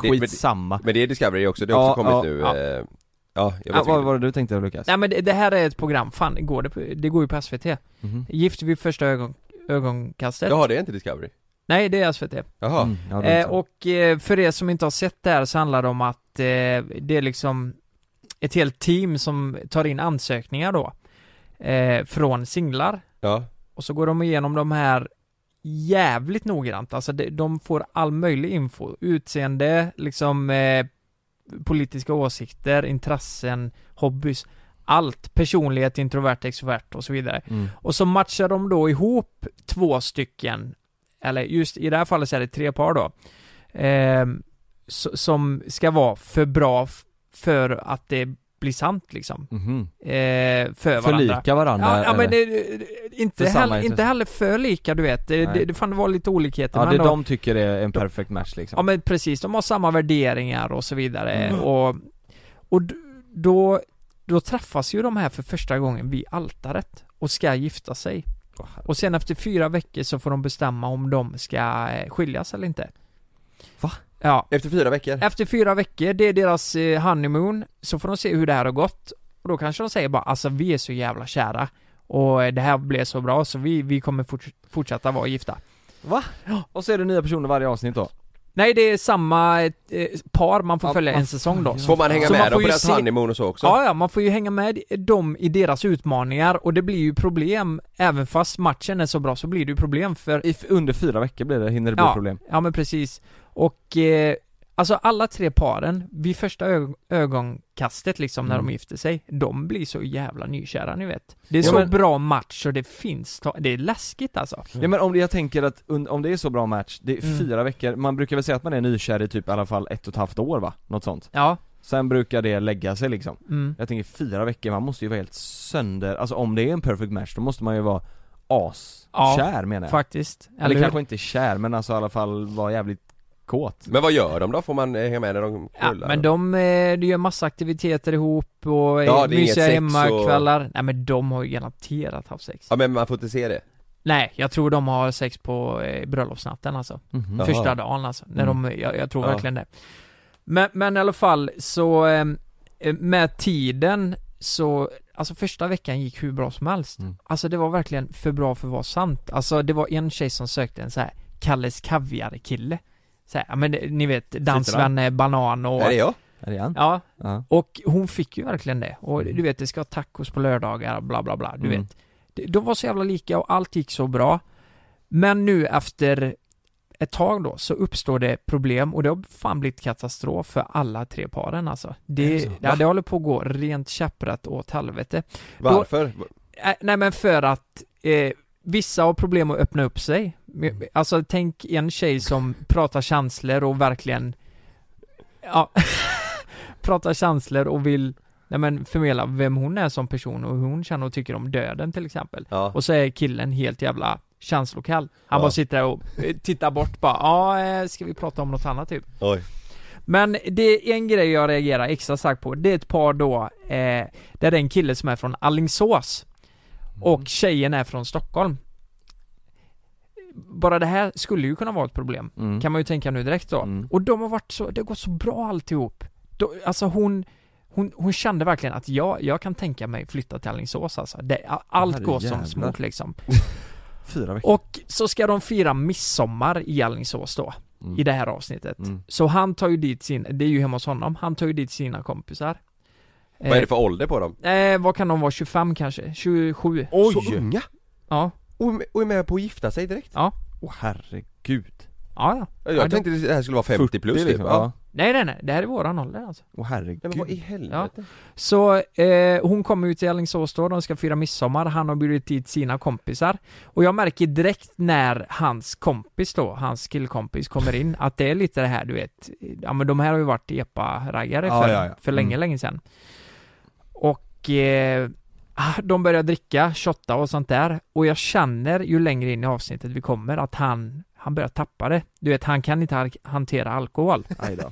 Speaker 7: det, men,
Speaker 8: Skitsamma.
Speaker 7: men det är Discovery också, det har
Speaker 8: Ja,
Speaker 7: också kommit
Speaker 8: ja,
Speaker 7: nu
Speaker 8: ja.
Speaker 7: eh, Ja, jag
Speaker 8: Ja,
Speaker 7: vet
Speaker 8: vad
Speaker 7: inte.
Speaker 8: var det du tänkte Lukas?
Speaker 9: Nej men det, det här är ett program, fan går det, på, det går ju på SVT.
Speaker 8: Mhm.
Speaker 9: Gift vid första ögon, ögonkastet.
Speaker 7: Jaha, det är inte Discovery?
Speaker 9: Nej, det är SVT.
Speaker 7: Jaha
Speaker 8: Mm, ja, det är
Speaker 9: Eh,
Speaker 8: inte.
Speaker 9: och eh, för er som inte har sett det här så handlar det om att eh, det är liksom ett helt team som tar in ansökningar då. Eh, från singlar.
Speaker 7: Ja.
Speaker 9: Och så går de igenom de här jävligt noggrant. Alltså de, de får all möjlig info. Utseende, liksom eh, politiska åsikter, intressen, hobbys. Allt. Personlighet, introvert, extrovert och så vidare.
Speaker 8: Mm.
Speaker 9: Och så matchar de då ihop två stycken, eller just i det här fallet så är det tre par då, ehm, s- som ska vara för bra f- för att det blir sant liksom.
Speaker 8: Mhm.
Speaker 9: Eh, för varandra.
Speaker 8: Förlika varandra,
Speaker 9: Ja, ja men det,
Speaker 8: eller?
Speaker 9: det- inte,
Speaker 8: För samma
Speaker 9: heller,
Speaker 8: intresse.
Speaker 9: inte heller för lika du vet. Det,
Speaker 8: Nej.
Speaker 9: det, det fan det var lite olikheter.
Speaker 8: Ja
Speaker 9: men
Speaker 8: det
Speaker 9: ändå-
Speaker 8: de tycker är en perfect match liksom
Speaker 9: Ja men precis, de har samma värderingar och så vidare
Speaker 8: Mm.
Speaker 9: och, och d- då, då träffas ju de här för första gången vid altaret och ska gifta sig. Och sen efter fyra veckor så får de bestämma om de ska eh, skiljas eller inte.
Speaker 8: Va?
Speaker 9: Ja.
Speaker 7: Efter fyra veckor?
Speaker 9: Efter fyra veckor, det är deras eh, honeymoon, så får de se hur det här har gått. Och då kanske de säger bara alltså vi är så jävla kära och eh, det här blev så bra så vi, vi kommer forts- fortsätta vara gifta.
Speaker 8: Va? Och så är det nya personer varje avsnitt då?
Speaker 9: Nej det är samma eh, par man får följa en säsong då.
Speaker 7: Får man hänga
Speaker 9: Så
Speaker 7: med dem
Speaker 9: får
Speaker 7: på
Speaker 9: ju
Speaker 7: deras honeymoon och så också?
Speaker 9: Ja, ja, man får ju hänga med dem i deras utmaningar och det blir ju problem även fast matchen är så bra så blir det ju problem för...
Speaker 8: I, under fyra veckor blir det, hinner det bli
Speaker 9: ja,
Speaker 8: problem?
Speaker 9: Ja men precis. Och eh, alltså alla tre paren, vid första ög- ögonkastet liksom när
Speaker 8: Mm.
Speaker 9: de gifter sig, de blir så jävla nykära ni vet. Det är
Speaker 8: Ja,
Speaker 9: så
Speaker 8: men-
Speaker 9: bra match och det finns, ta- det är läskigt alltså.
Speaker 8: Ja men om det, jag tänker att und- om det är så bra match, det är
Speaker 9: Mm.
Speaker 8: fyra veckor, man brukar väl säga att man är nykär i typ i alla fall ett och ett halvt år va? Något sånt?
Speaker 9: Ja
Speaker 8: Sen brukar det lägga sig liksom
Speaker 9: Mm.
Speaker 8: Jag tänker fyra veckor, man måste ju vara helt sönder, alltså om det är en perfect match då måste man ju vara
Speaker 9: Ja,
Speaker 8: askär menar jag
Speaker 9: faktiskt.
Speaker 8: Eller,
Speaker 9: Eller hur?
Speaker 8: kanske inte kär men alltså i alla fall vara jävligt kåt
Speaker 7: Men vad gör de då? Får man eh, hänga med när de
Speaker 9: Ja,
Speaker 7: kollar?
Speaker 9: men de, eh, de gör massa aktiviteter ihop och
Speaker 7: Ja,
Speaker 9: ja,
Speaker 7: det är inget
Speaker 9: mysiga
Speaker 7: sex
Speaker 9: hemmakvällar. Nej men de har ju garanterat haft sex.
Speaker 7: Ja men man får inte se det?
Speaker 9: Nej, jag tror de har sex på eh, bröllopsnatten alltså.
Speaker 7: Mhm.
Speaker 9: Första
Speaker 7: Jaha.
Speaker 9: dagen alltså. När de, jag, jag tror
Speaker 7: Ja.
Speaker 9: verkligen det. Men, men i alla fall så, eh, med tiden så, alltså första veckan gick hur bra som helst. Alltså det var verkligen för bra för att vara sant. Alltså det var en tjej som sökte en så här Kalles Kaviar-kille. Så här, ja, men eh, ni vet, dansvän Banan och...
Speaker 8: Är det jag? Är det han?
Speaker 9: Ja.
Speaker 8: Ja.
Speaker 9: Och hon fick ju verkligen det. Och
Speaker 7: Mm.
Speaker 9: du vet, det ska ha tacos på lördagar, bla bla bla, du
Speaker 8: Mm.
Speaker 9: vet. Det- De var så jävla lika och allt gick så bra. Men nu efter ett tag då så uppstår det problem och det har fan blivit katastrof för alla tre paren alltså.
Speaker 7: Är det
Speaker 9: Det,
Speaker 7: så?
Speaker 9: ja, det håller på att gå rent käpprätt åt helvete. Då-
Speaker 7: Varför?
Speaker 9: Äh, Nej men för att eh, vissa har problem att öppna upp sig. Men- Alltså tänk en tjej som pratar känslor och verkligen Ja [LAUGHS] Pratar känslor och vill Nej men förmedla vem hon är som person och hur hon känner och tycker om döden till exempel.
Speaker 7: Ja.
Speaker 9: Och så är killen helt jävla känslokall. Han
Speaker 11: Ja.
Speaker 9: bara sitter där och eh, tittar bort bara, ja, eh, ska vi prata om något annat typ?
Speaker 11: Oj.
Speaker 9: Men det är en grej jag reagerar extra starkt på, det är ett par då, eh, där det är en kille som är från Allingsås och tjejen är från Stockholm. Bara det här skulle ju kunna vara ett problem,
Speaker 8: Mm.
Speaker 9: kan man ju tänka nu direkt då. Och de har varit så, det har gått så bra alltihop. Då, alltså hon, hon, hon kände verkligen att jag, jag kan tänka mig flytta till Alingsås alltså. Det, allt går som
Speaker 8: Herrejävlar.
Speaker 9: smort liksom.
Speaker 8: Fyra veckor.
Speaker 9: Och så ska de fira midsommar i Alingsås då, i det här avsnittet. Så han tar ju dit sin, det är ju hemma hos honom, han tar ju dit sina kompisar.
Speaker 7: Vad är det för ålder på dem?
Speaker 9: Eh, vad kan de vara, 25 kanske? 27?
Speaker 7: Oj! Så unga?
Speaker 9: Ja.
Speaker 7: Och, och är med på att gifta sig direkt?
Speaker 9: Ja.
Speaker 8: Åh herregud.
Speaker 9: Ja, ja.
Speaker 7: Jag
Speaker 9: ja, de-
Speaker 7: tänkte det här skulle vara 50 plus typ,
Speaker 8: liksom,
Speaker 7: ja.
Speaker 8: ja.
Speaker 9: Nej nej nej, det här är våran ålder alltså.
Speaker 8: Åh herregud.
Speaker 7: Men vad i helvete?
Speaker 9: Så eh, hon kommer ut till Alingsås då, de ska fira midsommar, han har bjudit dit sina kompisar. Och jag märker direkt när hans kompis då, hans killkompis kommer in, att det är lite det här du vet, ja men de här har ju varit epa-raggare
Speaker 8: Ja,
Speaker 9: för,
Speaker 8: ja, ja.
Speaker 9: för länge,
Speaker 8: Mm.
Speaker 9: länge sedan. Och eh, ah, de börjar dricka, shotta och sånt där. Och jag känner ju längre in i avsnittet vi kommer att han, han börjar tappa det. Du vet, han kan inte ha- hantera alkohol.
Speaker 8: Nej då.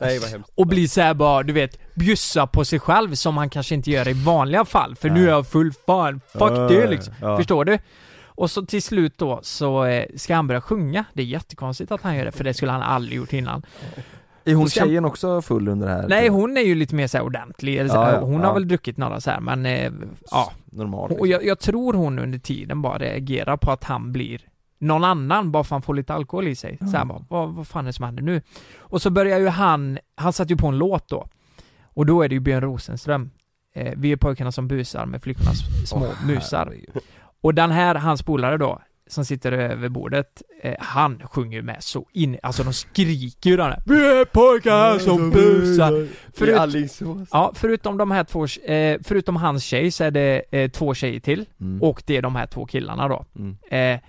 Speaker 7: Nej vad hemskt
Speaker 9: Och blir såhär bara, du vet, bjussa på sig själv som han kanske inte gör i vanliga fall. För nu är jag full fan, fuck
Speaker 8: Ja,
Speaker 9: det liksom.
Speaker 8: ja.
Speaker 9: Förstår du? Och så till slut då så eh, ska han börja sjunga. Det är jättekonstigt att han gör det, för det skulle han aldrig gjort innan.
Speaker 8: Är hon
Speaker 9: Då ska han-
Speaker 8: tjejen också full under det här?
Speaker 9: Nej, hon är ju lite mer såhär ordentlig. Eller så
Speaker 8: Ja,
Speaker 9: här,
Speaker 8: ja,
Speaker 9: hon
Speaker 8: ja.
Speaker 9: har väl druckit några så här, men eh, ja.
Speaker 8: Normal. liksom.
Speaker 9: Och jag, jag tror hon under tiden bara reagerar på att han blir någon annan, bara för att han får lite alkohol i sig. Så här, bara, vad, vad fan är det som händer nu? Och så börjar ju han, han satte ju på en låt då. Och då är det ju Björn Rosenström. Eh, vi är pojkarna som busar med flickornas små
Speaker 8: Åh,
Speaker 9: musar. Och den här, hans polare då, som sitter över bordet, eh, han sjunger ju med så in, alltså de skriker ju den här Vi är pojkar som busar!
Speaker 8: I
Speaker 9: Förut,
Speaker 8: Alingsås.
Speaker 9: ja, förutom de här två, eh, förutom hans tjej så är det eh, två tjejer till
Speaker 8: Mm,
Speaker 9: och det är de här två killarna då. Eh,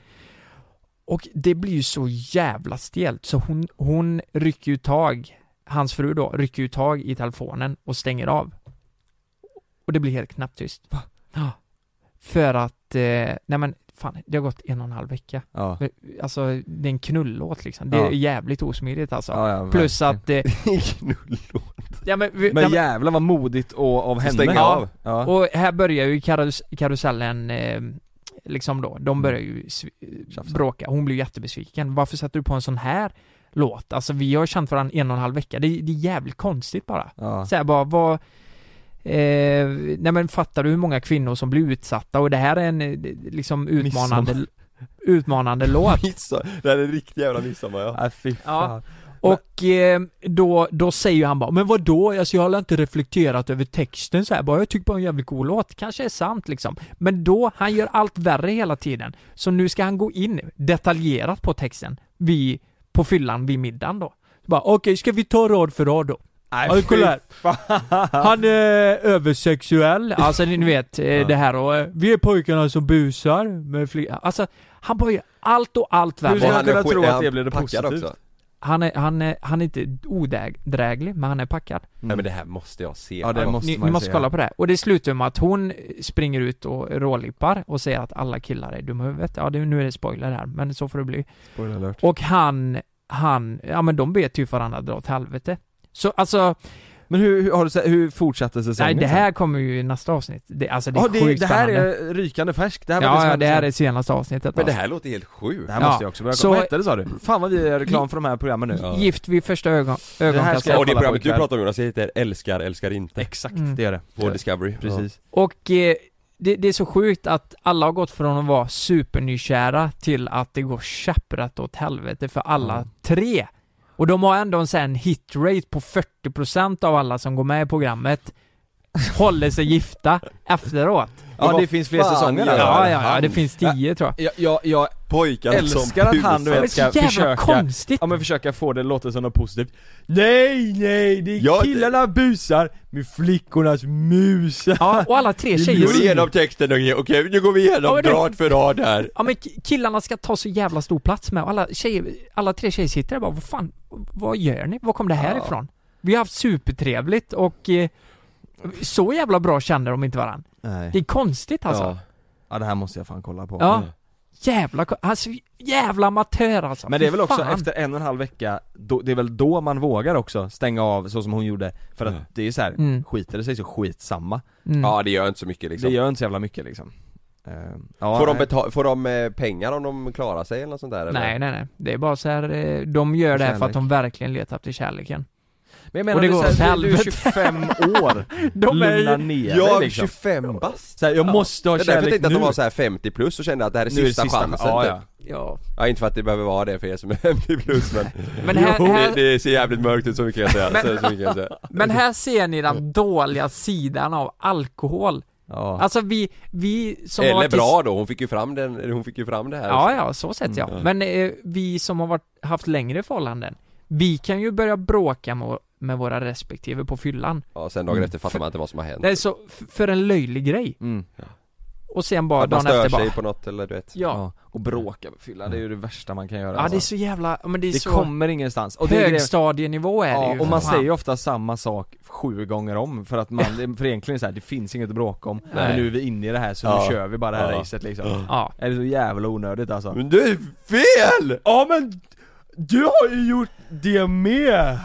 Speaker 9: och det blir ju så jävla stelt så hon, hon rycker ju tag, hans fru då, rycker ju tag i telefonen och stänger av. Och det blir helt knapptyst. Ja. För att, eh, nej men fan, det har gått en och en halv vecka.
Speaker 8: Ja.
Speaker 9: Men, Alltså, det är en knullåt liksom. Det är
Speaker 8: Ja.
Speaker 9: jävligt osmidigt alltså.
Speaker 8: Ja, ja,
Speaker 9: Plus
Speaker 8: [LAUGHS]
Speaker 9: att... Eh, ja, men, vi- nej,
Speaker 8: Men
Speaker 9: men-
Speaker 8: jävlar vad modigt och av henne.
Speaker 9: Ja.
Speaker 8: Ja.
Speaker 9: Och här börjar ju karus karusellen eh, liksom då,
Speaker 8: Mm.
Speaker 9: de börjar ju sv- bråka. Hon blir jättebesviken. Varför sätter du på en sån här låt? Alltså vi har känt varandra en och en halv vecka. Det, är- det är jävligt konstigt bara.
Speaker 8: Ja. [LAUGHS]
Speaker 9: Så här bara, vad... Eh, nej men fattar du hur många kvinnor som blir utsatta? Och det här är en eh, liksom utmanande,
Speaker 7: Midsommar.
Speaker 9: utmanande låt.
Speaker 7: Midsommar, det här är en riktig jävla midsommar ja
Speaker 8: Nej fy
Speaker 9: Ja. Och eh, då, då säger ju han bara, men vadå? Alltså, jag har inte reflekterat över texten så här. bara, jag tycker bara en jävligt cool låt, kanske är sant liksom. Men då, han gör allt värre hela tiden. Så nu ska han gå in detaljerat på texten, vid, på fyllan vid middagen då. Så bara, okej, ska vi ta rad för rad då?
Speaker 8: Nej,
Speaker 9: Ja, kolla här.
Speaker 8: fy
Speaker 9: Han är översexuell, alltså ni ni vet eh, det här och eh, vi är pojkarna som busar med fli- Alltså, han bara gör allt och allt värre.
Speaker 8: Hur ska jag kunna tro
Speaker 7: är
Speaker 8: att
Speaker 7: han
Speaker 8: det blev det
Speaker 7: packad
Speaker 8: positivt?
Speaker 7: också?
Speaker 9: Han är, han är, han är inte odräglig, men han är packad.
Speaker 7: Nej men det här måste jag se
Speaker 8: Mm. Ja, det
Speaker 7: Alltså,
Speaker 8: måste
Speaker 9: Ni,
Speaker 8: man
Speaker 9: ni
Speaker 8: ju
Speaker 9: måste
Speaker 8: säga.
Speaker 9: kolla på det här. Och det slutar med att hon springer ut och rålippar och säger att alla killar är dumma i huvudet. Ja, det, nu är det spoiler här, men så får det bli.
Speaker 8: Spoiler alert.
Speaker 9: Och han, han, ja men de bet ju varandra dra åt helvete. Så alltså,
Speaker 8: Men hur, hur, har du, sett- hur fortsatte säsongen?
Speaker 9: nej det
Speaker 8: sen?
Speaker 9: här kommer ju i nästa avsnitt. Det, alltså det är
Speaker 8: Ja,
Speaker 9: sjukt
Speaker 8: det här
Speaker 9: spännande.
Speaker 8: är rykande färskt, det här var det
Speaker 9: ja,
Speaker 8: som
Speaker 9: ja,
Speaker 8: hände
Speaker 9: det här
Speaker 8: sen.
Speaker 9: är senaste avsnittet
Speaker 7: Men det
Speaker 9: alltså.
Speaker 7: här låter helt sjukt
Speaker 8: Det här måste
Speaker 9: Ja.
Speaker 8: jag också börja
Speaker 9: Så-
Speaker 8: kolla, vad hette det sa du? Fan vad vi gör reklam för de här programmen nu
Speaker 9: Gift vid första ögon,
Speaker 8: Det här ska jag
Speaker 9: ögonkastet.
Speaker 7: Och det
Speaker 8: kolla
Speaker 7: programmet du
Speaker 8: pojkar.
Speaker 7: pratar om Jonas, det heter Älskar, älskar inte
Speaker 8: Exakt,
Speaker 9: Mm.
Speaker 8: det gör det
Speaker 7: På Discovery
Speaker 8: Precis
Speaker 9: Och eh, det, det är så sjukt att alla har gått från att vara supernykära till att det går käpprätt åt helvete för alla tre. Och de har ändå en sån här hitrate på 40% av alla som går med i programmet håller sig gifta efteråt.
Speaker 8: Ja, det finns fler säsonger
Speaker 9: Ja,
Speaker 8: där.
Speaker 9: ja, ja, det
Speaker 8: Han-
Speaker 9: finns 10 tror jag.
Speaker 8: Jag, jag, jag
Speaker 7: Pojkar
Speaker 8: älskar att han du
Speaker 9: Det är
Speaker 8: vet
Speaker 9: så
Speaker 8: ska
Speaker 9: jävla
Speaker 8: försöka,
Speaker 9: konstigt.
Speaker 8: ja men försöka få det att låta som något positivt Nej nej, det är
Speaker 7: Ja, det-
Speaker 8: killarna busar med flickornas musar
Speaker 9: Ja, och alla tre
Speaker 7: Vi
Speaker 9: tjejer
Speaker 7: går igenom texten och okej nu går vi
Speaker 9: Ja,
Speaker 7: igenom
Speaker 9: men det-
Speaker 7: rad för rad här
Speaker 9: Ja men k- killarna ska ta så jävla stor plats med och alla tjejer, alla tre tjejer sitter där bara vad fan, vad gör ni? Var kom det här
Speaker 8: Ja.
Speaker 9: ifrån? Vi har haft supertrevligt och eh, så jävla bra känner de inte varandra.
Speaker 8: Nej.
Speaker 9: Det är konstigt alltså.
Speaker 7: Mm.
Speaker 8: Ja. ja det här måste jag fan kolla på
Speaker 9: Ja. jävla, ko- alltså jävla amatör alltså.
Speaker 8: Men det är
Speaker 9: Fy
Speaker 8: väl också
Speaker 9: fan.
Speaker 8: efter en och en halv vecka, då, det är väl då man vågar också stänga av så som hon gjorde För att det är ju så här,
Speaker 9: Mm.
Speaker 8: skiter det sig så skitsamma
Speaker 9: Mm.
Speaker 7: Ja det gör inte så mycket liksom
Speaker 8: Det gör inte så jävla mycket liksom Eh, ja,
Speaker 7: Får de,
Speaker 8: nej.
Speaker 7: beta- får de eh, pengar om de klarar sig eller något sånt där eller?
Speaker 9: Nej, nej, nej. Det är bara så här, eh, de gör det här för
Speaker 7: Kärlek.
Speaker 9: att de verkligen letar efter kärleken.
Speaker 8: Men jag menar,
Speaker 9: Och det
Speaker 8: det
Speaker 9: går
Speaker 8: är
Speaker 9: åt
Speaker 8: så här, du, du är
Speaker 9: helvete. [LAUGHS]
Speaker 8: 25 år,
Speaker 9: De är ju-
Speaker 8: lugna ner
Speaker 7: Jag är
Speaker 8: dig liksom
Speaker 7: 25 bast!
Speaker 8: Så här, jag måste ha
Speaker 7: det är därför jag
Speaker 8: kärlek
Speaker 7: tänkte att de
Speaker 8: nu.
Speaker 7: var så här 50 plus och kände att det här är
Speaker 8: Nu är det
Speaker 7: sista,
Speaker 8: sista
Speaker 7: chansen
Speaker 8: chansen,
Speaker 7: typ.
Speaker 8: ja,
Speaker 9: Ja.
Speaker 7: ja, inte för att det behöver vara det för er som är 50 plus men,
Speaker 9: Men här-
Speaker 7: Jo,
Speaker 9: här-
Speaker 7: Det, det ser jävligt mörkt ut så mycket kan jag säga,
Speaker 9: Men-
Speaker 7: så, så mycket kan
Speaker 9: [LAUGHS]
Speaker 7: jag säga.
Speaker 9: Men här ser ni den dåliga sidan av alkohol.
Speaker 8: Ja.
Speaker 9: Alltså vi, vi som har
Speaker 7: Eller
Speaker 9: varit i-
Speaker 7: bra då, hon fick ju fram den, hon fick ju fram det här
Speaker 9: Ja, ja, så sett ja.
Speaker 7: Mm.
Speaker 9: Men eh, vi som har varit, haft längre förhållanden, vi kan ju börja bråka med, med våra respektive på fyllan.
Speaker 7: Ja, sen dagen efter fattar man inte vad som har hänt
Speaker 9: Det är så, f- för en löjlig grej. Och sen bara
Speaker 7: Att man
Speaker 9: dagen
Speaker 7: stör
Speaker 9: efter
Speaker 7: sig
Speaker 9: bara...
Speaker 7: på något eller du vet
Speaker 9: Ja.
Speaker 8: Och bråka med fylla, det är ju det värsta man kan göra
Speaker 9: Ja, det är så jävla, men det är
Speaker 8: Det
Speaker 9: så...
Speaker 8: kommer ingenstans och det är det-
Speaker 9: högstadienivå är det
Speaker 8: Ja,
Speaker 9: ju.
Speaker 8: och
Speaker 9: för
Speaker 8: man
Speaker 9: fan.
Speaker 8: säger ju ofta samma sak sju gånger om för
Speaker 9: [LAUGHS]
Speaker 8: att man, för egentligen så här, det finns inget att bråka om
Speaker 9: Nej.
Speaker 8: Men nu är vi inne i det här så
Speaker 7: Ja.
Speaker 8: nu kör vi bara det här
Speaker 7: Ja.
Speaker 8: racet liksom
Speaker 9: Ja.
Speaker 8: Är det så jävla onödigt alltså?
Speaker 7: Men det är fel!
Speaker 8: Ja men, du har ju gjort det med!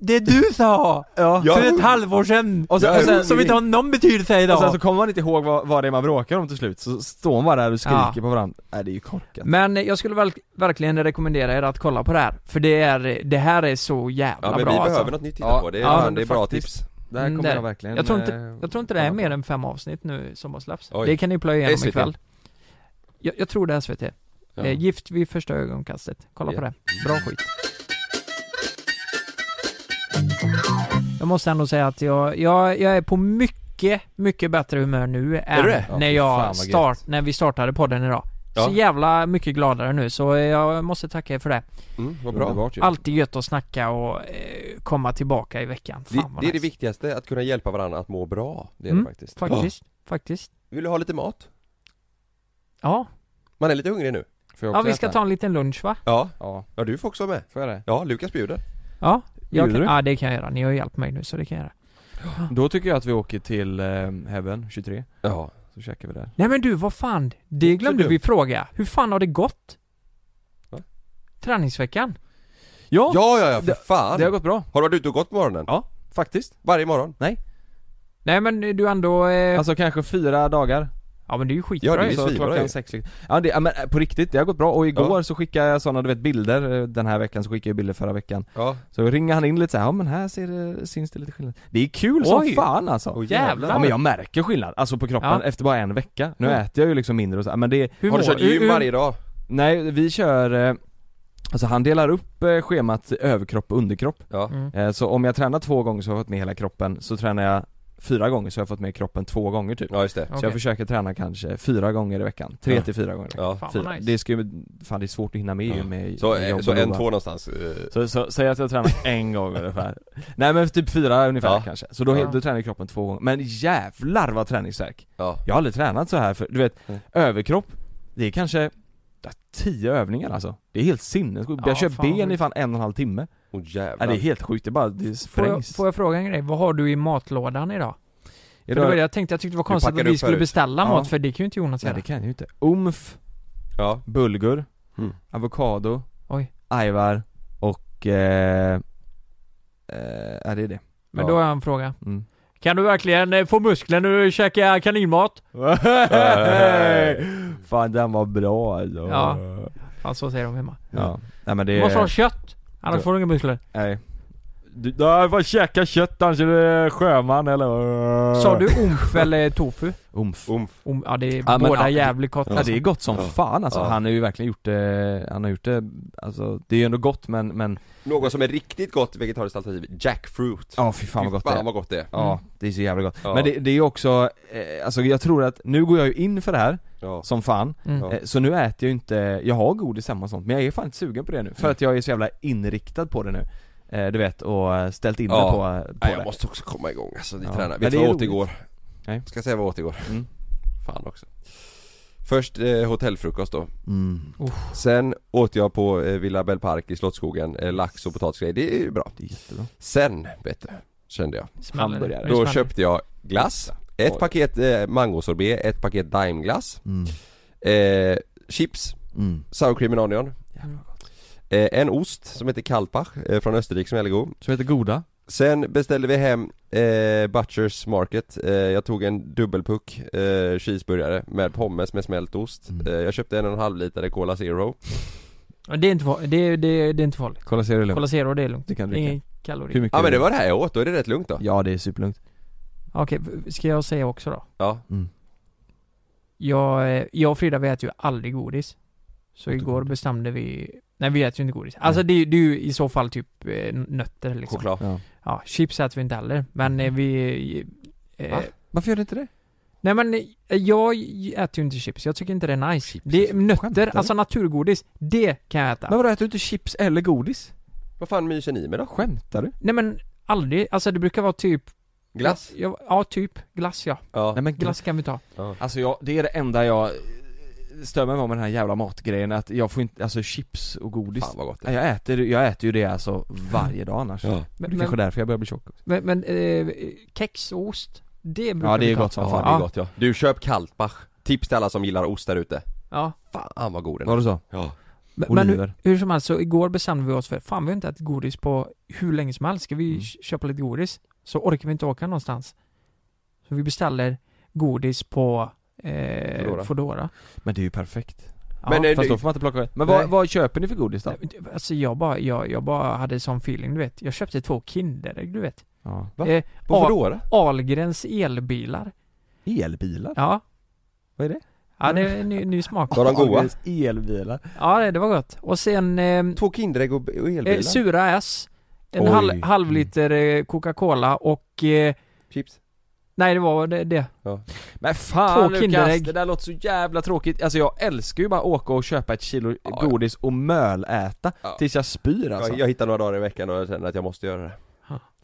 Speaker 9: Det du sa!
Speaker 8: Ja.
Speaker 9: För ett halvår sedan!
Speaker 8: Och sen- och sen-
Speaker 9: som inte har någon betydelse
Speaker 8: Och sen
Speaker 9: idag!
Speaker 8: så kommer man inte ihåg vad, vad det är man bråkar om till slut, så står man bara där och skriker
Speaker 9: Ja.
Speaker 8: på varandra Nej det är ju korkat
Speaker 9: Men jag skulle verk- verkligen rekommendera er att kolla på det här, för det är, det här är så jävla
Speaker 7: Ja men vi
Speaker 9: bra
Speaker 7: behöver
Speaker 9: alltså.
Speaker 7: något nytt att titta på, det är,
Speaker 9: Ja,
Speaker 7: fan, det är bra
Speaker 8: faktiskt.
Speaker 7: tips
Speaker 8: Det här
Speaker 9: Mm,
Speaker 8: kommer
Speaker 9: det.
Speaker 8: jag verkligen
Speaker 9: jag tror, inte,
Speaker 8: eh,
Speaker 9: jag tror inte det är mer än fem avsnitt nu som har släppts.
Speaker 8: Oj.
Speaker 9: Det kan ni plöja igenom
Speaker 8: SVT.
Speaker 9: ikväll. Jag, jag tror det är SVT.
Speaker 8: Ja.
Speaker 9: Eh, Gift vid första ögonkastet. Kolla
Speaker 8: Ja.
Speaker 9: på det. Bra skit. Jag måste ändå säga att jag, jag, jag är på mycket, mycket bättre humör nu än
Speaker 8: du det?
Speaker 9: när
Speaker 8: Ja, fy fan
Speaker 9: jag
Speaker 8: vad gött.
Speaker 9: start, när vi startade podden idag.
Speaker 8: Ja.
Speaker 9: Så jävla mycket gladare nu så jag måste tacka er för det.
Speaker 7: Mm, vad bra. Underbart ju.
Speaker 9: Alltid gött att snacka och eh, komma tillbaka i veckan. Fan
Speaker 7: det,
Speaker 9: vad
Speaker 7: det är det
Speaker 9: nice.
Speaker 7: viktigaste, att kunna hjälpa varandra att må bra Det är
Speaker 9: Mm,
Speaker 7: det faktiskt
Speaker 9: faktiskt, faktiskt.
Speaker 7: Vill du ha lite mat?
Speaker 9: Ja.
Speaker 7: Man är lite hungrig nu
Speaker 9: Ja vi ska ta en liten lunch va?
Speaker 7: Ja,
Speaker 8: ja,
Speaker 7: ja du får också vara med
Speaker 8: Får jag det?
Speaker 7: Ja, Lukas bjuder
Speaker 9: Ja, jag kan,
Speaker 8: Bjuder du?
Speaker 9: ja det kan jag göra. Ni har ju hjälpt mig nu så det kan jag göra.
Speaker 8: Då tycker jag att vi åker till eh, Heaven 23
Speaker 7: Ja
Speaker 8: Så käkar vi där
Speaker 9: Nej men du, vad fan? Det glömde
Speaker 8: dumt.
Speaker 9: vi fråga. Hur fan har det gått?
Speaker 7: Va?
Speaker 9: Träningsveckan?
Speaker 8: Ja!
Speaker 7: Ja, ja, ja för fan!
Speaker 8: Det har gått bra
Speaker 7: Har du varit ute och gått på morgonen?
Speaker 8: Ja, faktiskt
Speaker 7: Varje morgon?
Speaker 8: Nej
Speaker 9: Nej men du ändå... Eh...
Speaker 8: Alltså kanske fyra dagar
Speaker 9: Ja men det är ju skitbra
Speaker 8: Ja det
Speaker 9: ju.
Speaker 8: är ju svinbra klockan
Speaker 9: ju.
Speaker 8: sex liksom. Ja det, ja, men eh, på riktigt, det har gått bra och igår så skickade jag sådana du vet bilder eh, den här veckan, så skickade jag bilder förra veckan
Speaker 7: Ja.
Speaker 8: Så ringer han in lite såhär, ja men här ser det, syns det lite skillnad Det är kul
Speaker 9: Oj.
Speaker 8: som fan alltså!
Speaker 9: Åh, jävlar.
Speaker 8: Ja men jag märker skillnad, alltså på kroppen
Speaker 9: Ja.
Speaker 8: efter bara en vecka Nu
Speaker 9: Mm.
Speaker 8: äter jag ju liksom mindre och så, men det
Speaker 9: Hur Har du mår- kört gym hur- varje dag?
Speaker 8: Nej, vi kör eh, Alltså han delar upp eh, schemat överkropp och underkropp
Speaker 7: Ja.
Speaker 9: Mm.
Speaker 8: Eh, Så om jag tränar två gånger så har jag fått med hela kroppen, så tränar jag fyra gånger så har jag fått med kroppen två gånger typ
Speaker 7: Ja just det
Speaker 8: Så
Speaker 9: Okej.
Speaker 8: jag försöker träna kanske fyra gånger i veckan, tre
Speaker 7: Ja.
Speaker 8: till fyra gånger i veckan
Speaker 7: Ja.
Speaker 9: Fan vad
Speaker 8: Fyra.
Speaker 9: nice.
Speaker 8: Det ska ju, fan det är svårt att hinna med ju med
Speaker 7: Så,
Speaker 8: med
Speaker 7: eh,
Speaker 8: jobb
Speaker 7: så
Speaker 8: och
Speaker 7: en,
Speaker 8: lova.
Speaker 7: två någonstans eh,
Speaker 8: Så, så säg att jag tränar en gång ungefär Nej men typ fyra ungefär
Speaker 7: Ja.
Speaker 8: kanske, så då,
Speaker 7: Ja.
Speaker 8: då tränar kroppen två gånger Men jävlar vad träningsvärk!
Speaker 7: Ja
Speaker 8: Jag har aldrig tränat så här för, du vet,
Speaker 7: Nej.
Speaker 8: överkropp Det är kanske ja, tio övningar alltså Det är helt sinnessjukt,
Speaker 9: Ja,
Speaker 8: jag kör
Speaker 9: fan.
Speaker 8: ben i fan en och en halv timme
Speaker 7: Åh
Speaker 8: ja,
Speaker 7: jävlar
Speaker 8: Det är helt sjukt, det bara, det
Speaker 9: Får jag,
Speaker 8: sprängs
Speaker 9: får jag fråga en grej? Vad har du i matlådan idag? För
Speaker 8: Idag-
Speaker 9: det var det jag tänkte, jag tyckte det var
Speaker 7: Du
Speaker 9: konstigt att
Speaker 7: packade
Speaker 9: vi
Speaker 7: upp
Speaker 9: skulle
Speaker 7: förut.
Speaker 9: beställa
Speaker 8: Ja.
Speaker 9: mat för det kan ju inte Jonas
Speaker 8: Nej
Speaker 9: göra.
Speaker 8: det kan jag ju inte, umf,
Speaker 7: Ja,
Speaker 8: bulgur,
Speaker 7: Mm.
Speaker 8: avokado,
Speaker 9: Oj.
Speaker 8: ajvar och eh, eh, ja det är det
Speaker 9: Men
Speaker 7: Ja.
Speaker 9: då har jag en fråga.
Speaker 8: Mm.
Speaker 9: Kan du verkligen eh, få muskler när du käkar kaninmat?
Speaker 8: [LAUGHS]
Speaker 7: Eh.
Speaker 8: Fan den var bra alltså.
Speaker 9: Ja. Fan så säger de hemma.
Speaker 8: ja. Nej men det
Speaker 9: Du måste ha kött, annars
Speaker 8: Ja.
Speaker 9: får du inga muskler.
Speaker 8: Nej. Du, du får käka kött annars är du sjöman eller?
Speaker 9: Sa du omf eller tofu?
Speaker 8: Umf.
Speaker 7: umf
Speaker 9: Om, ja det är
Speaker 8: [LAUGHS] Ja, men,
Speaker 9: båda
Speaker 8: ja,
Speaker 9: jävligt gott alltså.
Speaker 8: Ja det är gott som
Speaker 7: Ja.
Speaker 8: fan alltså.
Speaker 7: Ja.
Speaker 8: Han har ju verkligen gjort det, han har gjort det, alltså det är ju ändå gott men, men
Speaker 7: Något som är riktigt gott vegetariskt alternativ, jackfruit
Speaker 8: ja fy fan vad gott det
Speaker 7: Fan
Speaker 8: är.
Speaker 7: vad gott det är
Speaker 8: Ja,
Speaker 9: Mm.
Speaker 8: det är så jävla gott.
Speaker 7: Ja.
Speaker 8: Men det, det är ju också, eh, alltså jag tror att, nu går jag ju in för det här
Speaker 7: Ja.
Speaker 8: som fan,
Speaker 9: Mm.
Speaker 8: eh, så nu äter jag ju inte, jag har godis hemma och sånt men jag är fan inte sugen på det nu för att jag är så jävla inriktad på det nu eh, Du vet, och eh, ställt in mig
Speaker 7: Ja.
Speaker 8: på, på
Speaker 7: Nej,
Speaker 8: det
Speaker 7: jag måste också komma igång alltså, ni
Speaker 8: Ja.
Speaker 7: tränar.
Speaker 8: Men det
Speaker 7: Vet du vad
Speaker 8: är
Speaker 7: jag åt
Speaker 8: roligt.
Speaker 7: igår?
Speaker 8: Nej.
Speaker 7: Ska jag säga vad jag åt igår?
Speaker 8: Mm.
Speaker 7: Fan också Först eh, hotellfrukost då
Speaker 8: Mm.
Speaker 7: Sen åt jag på eh, Villa Bell Park i Slottsskogen, eh, lax och potatisgrej, det är ju bra
Speaker 8: Det är jättebra
Speaker 7: Sen, vet du, kände jag
Speaker 9: Smäller det.
Speaker 8: hamburgare.
Speaker 9: Det
Speaker 7: Då
Speaker 9: smäller.
Speaker 7: köpte jag glass, ett
Speaker 8: Oj.
Speaker 7: paket eh, mangosorbet, ett paket daimglass
Speaker 8: mm.
Speaker 7: eh, chips, sour cream and onion eh, En ost som heter Kalpach eh, från Österrike som är väldigt god
Speaker 8: Som heter Goda
Speaker 7: Sen beställde vi hem eh, Butchers Market, eh, jag tog en dubbelpuck eh, cheeseburgare med pommes med smält ost
Speaker 8: Mm.
Speaker 7: eh, Jag köpte en och en halv liter Cola Zero
Speaker 9: Ja, Det är inte, fa- det är, det är, det är inte farligt.
Speaker 8: Kolla ser du lugnt
Speaker 9: Cola Zero, det är lugnt.
Speaker 8: Det kan du dricka Typ.
Speaker 9: Ingen kalori.
Speaker 8: Hur mycket
Speaker 7: Ja men det
Speaker 8: är
Speaker 7: var det här jag åt, då är det rätt lugnt då
Speaker 8: Ja det är superlugnt
Speaker 9: Okej, ska jag säga också då?
Speaker 7: Ja
Speaker 8: Mm,
Speaker 9: Jag, eh, jag och Frida vi äter ju aldrig godis. Så igår bestämde vi... Nej vi äter ju inte godis. Alltså det, är ju- det är ju i så fall typ eh, nötter liksom.
Speaker 7: Choklad
Speaker 8: Ja.
Speaker 9: Ja, chips äter vi inte heller. Men eh, vi... eh,
Speaker 8: Mm. Va? Varför gör du inte det?
Speaker 9: Nej men eh, jag äter ju inte chips. Jag tycker inte det är nice. det är nötter,
Speaker 8: du?
Speaker 9: alltså naturgodis. Det kan jag äta.
Speaker 8: Men vadå äter du inte chips eller godis?
Speaker 7: Vad fan myser ni med då?
Speaker 8: Skämtar du?
Speaker 9: Nej men aldrig. Alltså det brukar vara typ...
Speaker 7: Glass?
Speaker 9: Ja, ja typ. Glass ja.
Speaker 7: Ja
Speaker 8: Nej men
Speaker 9: Glass kan vi ta.
Speaker 8: Alltså jag, det är det enda jag eh, stör mig på med den här jävla matgrejen att jag får inte, alltså chips och godis
Speaker 7: Fan, vad gott det är.
Speaker 8: jag äter, jag äter ju det alltså varje dag annars
Speaker 7: Ja.
Speaker 8: Det är
Speaker 9: Men-
Speaker 8: kanske
Speaker 9: men-
Speaker 8: därför jag börjar bli tjock också.
Speaker 9: Men, men eh, kex och ost. Det brukar
Speaker 8: Ja det
Speaker 9: vi
Speaker 8: är
Speaker 9: ta.
Speaker 8: gott som
Speaker 7: Ja,
Speaker 8: fan
Speaker 7: det är gott ja. Du köp Kaltbach. Tips till alla som gillar ost där ute.
Speaker 9: Ja.
Speaker 7: Fan vad god den
Speaker 8: Var det så?
Speaker 7: Ja.
Speaker 9: Men, men hur,
Speaker 8: Oliver.
Speaker 9: hur som helst, så igår bestämde vi oss för fan vi har inte ätit godis på hur länge som helst. Ska vi
Speaker 8: Mm.
Speaker 9: k- köpa lite godis? Så orkar vi inte åka någonstans. Så vi beställer godis på eh,
Speaker 8: Foodora.
Speaker 9: Foodora.
Speaker 8: Men det är ju perfekt
Speaker 9: Ja.
Speaker 7: Men, eh,
Speaker 8: Fast
Speaker 7: du-
Speaker 8: då får man inte plocka Men
Speaker 9: Nej.
Speaker 8: vad, vad köper ni för godis då?
Speaker 9: Alltså jag bara, jag, jag bara hade sån feeling du vet. Jag köpte två Kinderägg du vet.
Speaker 8: Ja.
Speaker 7: Va?
Speaker 9: Eh,
Speaker 7: På Foodora?
Speaker 9: Ahlgrens elbilar.
Speaker 8: Elbilar?
Speaker 9: Ja.
Speaker 8: Vad är det?
Speaker 9: Ja det är en ny, ny smak.
Speaker 7: Var de goda?
Speaker 8: Ahlgrens Elbilar?
Speaker 9: Ja det- det var gott. Och sen eh,
Speaker 7: Två Kinderägg och och elbilar?
Speaker 9: eh, sura S. En
Speaker 7: Oj.
Speaker 9: halv, halv liter eh, Coca-Cola och eh,
Speaker 7: Chips?
Speaker 9: Nej det var det, det.
Speaker 7: Ja.
Speaker 8: Men fan
Speaker 9: Två
Speaker 8: Lukas,
Speaker 9: Kinderägg.
Speaker 8: det där låter så jävla tråkigt Alltså jag älskar ju bara att åka och köpa ett kilo
Speaker 7: ja.
Speaker 8: godis och möläta
Speaker 7: Ja.
Speaker 8: tills jag spyr alltså
Speaker 7: Jag, jag hittar några dagar i veckan och jag känner att jag måste göra det.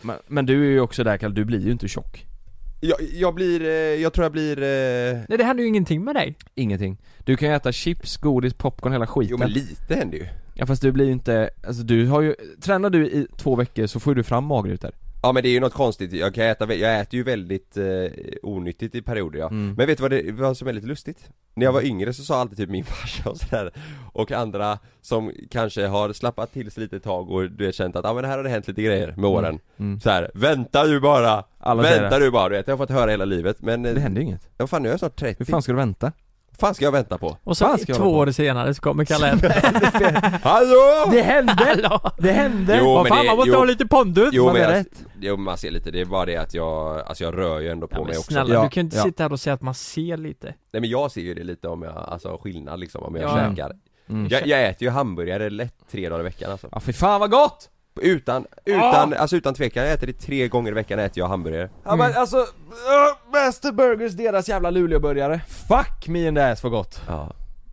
Speaker 8: Men, men du är ju också där Kalle, du blir ju inte tjock
Speaker 7: Jag, jag blir, eh, jag tror jag blir... Eh...
Speaker 9: Nej det hände ju ingenting med dig.
Speaker 8: Ingenting Du kan ju äta chips, godis, popcorn, hela skiten
Speaker 7: Jo men lite händer ju.
Speaker 8: Ja fast du blir ju inte, alltså du har ju, tränar du i två veckor så får du fram magrutor
Speaker 7: Ja men det är ju något konstigt, jag kan äta, vä- jag äter ju väldigt eh, onyttigt i perioder ja.
Speaker 8: Mm.
Speaker 7: Men vet du vad, det, vad som är lite lustigt? När jag var yngre så sa alltid typ min [LAUGHS] farsa och sådär Och andra som kanske har slappat till sig lite ett tag och du har känt att ah, men här har det hänt lite grejer med åren
Speaker 8: Mm.
Speaker 7: så här, vänta du bara!
Speaker 8: Alla säger
Speaker 7: vänta du bara, du vet, jag har fått höra hela livet men eh,
Speaker 8: Det händer ju inget,
Speaker 7: vad fan nu är jag snart
Speaker 8: hur
Speaker 7: 30,
Speaker 8: fan
Speaker 7: fan?
Speaker 8: ska du vänta?
Speaker 7: fan ska jag vänta på?
Speaker 9: Och så
Speaker 8: Fan, ska jag
Speaker 9: två
Speaker 8: vara
Speaker 9: år senare så kommer
Speaker 8: [LAUGHS]
Speaker 9: Kalle hem.
Speaker 7: Hallå!
Speaker 8: Det hände!
Speaker 9: Hallå!
Speaker 8: Det hände!
Speaker 7: Jo, men det- jo.
Speaker 8: lite pondus!
Speaker 7: Jo
Speaker 8: man
Speaker 7: men,
Speaker 8: är
Speaker 7: jag,
Speaker 8: rätt.
Speaker 7: jo men man ser lite, det är bara det att jag, alltså jag rör ju ändå på
Speaker 9: Ja,
Speaker 7: mig
Speaker 9: men
Speaker 7: också
Speaker 9: snälla
Speaker 8: Ja,
Speaker 9: du kan ju inte
Speaker 8: ja.
Speaker 9: sitta här och säga att man ser lite.
Speaker 7: Nej men jag ser ju det lite om jag, alltså skillnad liksom om jag
Speaker 9: Ja, ja.
Speaker 7: käkar
Speaker 8: Mm.
Speaker 7: jag, jag äter ju hamburgare lätt tre dagar i veckan alltså
Speaker 8: Ja fy fan vad gott!
Speaker 7: Utan, utan, alltså utan tvekan, jag äter det tre gånger i veckan äter jag hamburgare Mm.
Speaker 8: Ja men alltså, uh, Master Burgers, deras jävla Luleåburgare Fuck me in the ass vad gott!
Speaker 7: Ja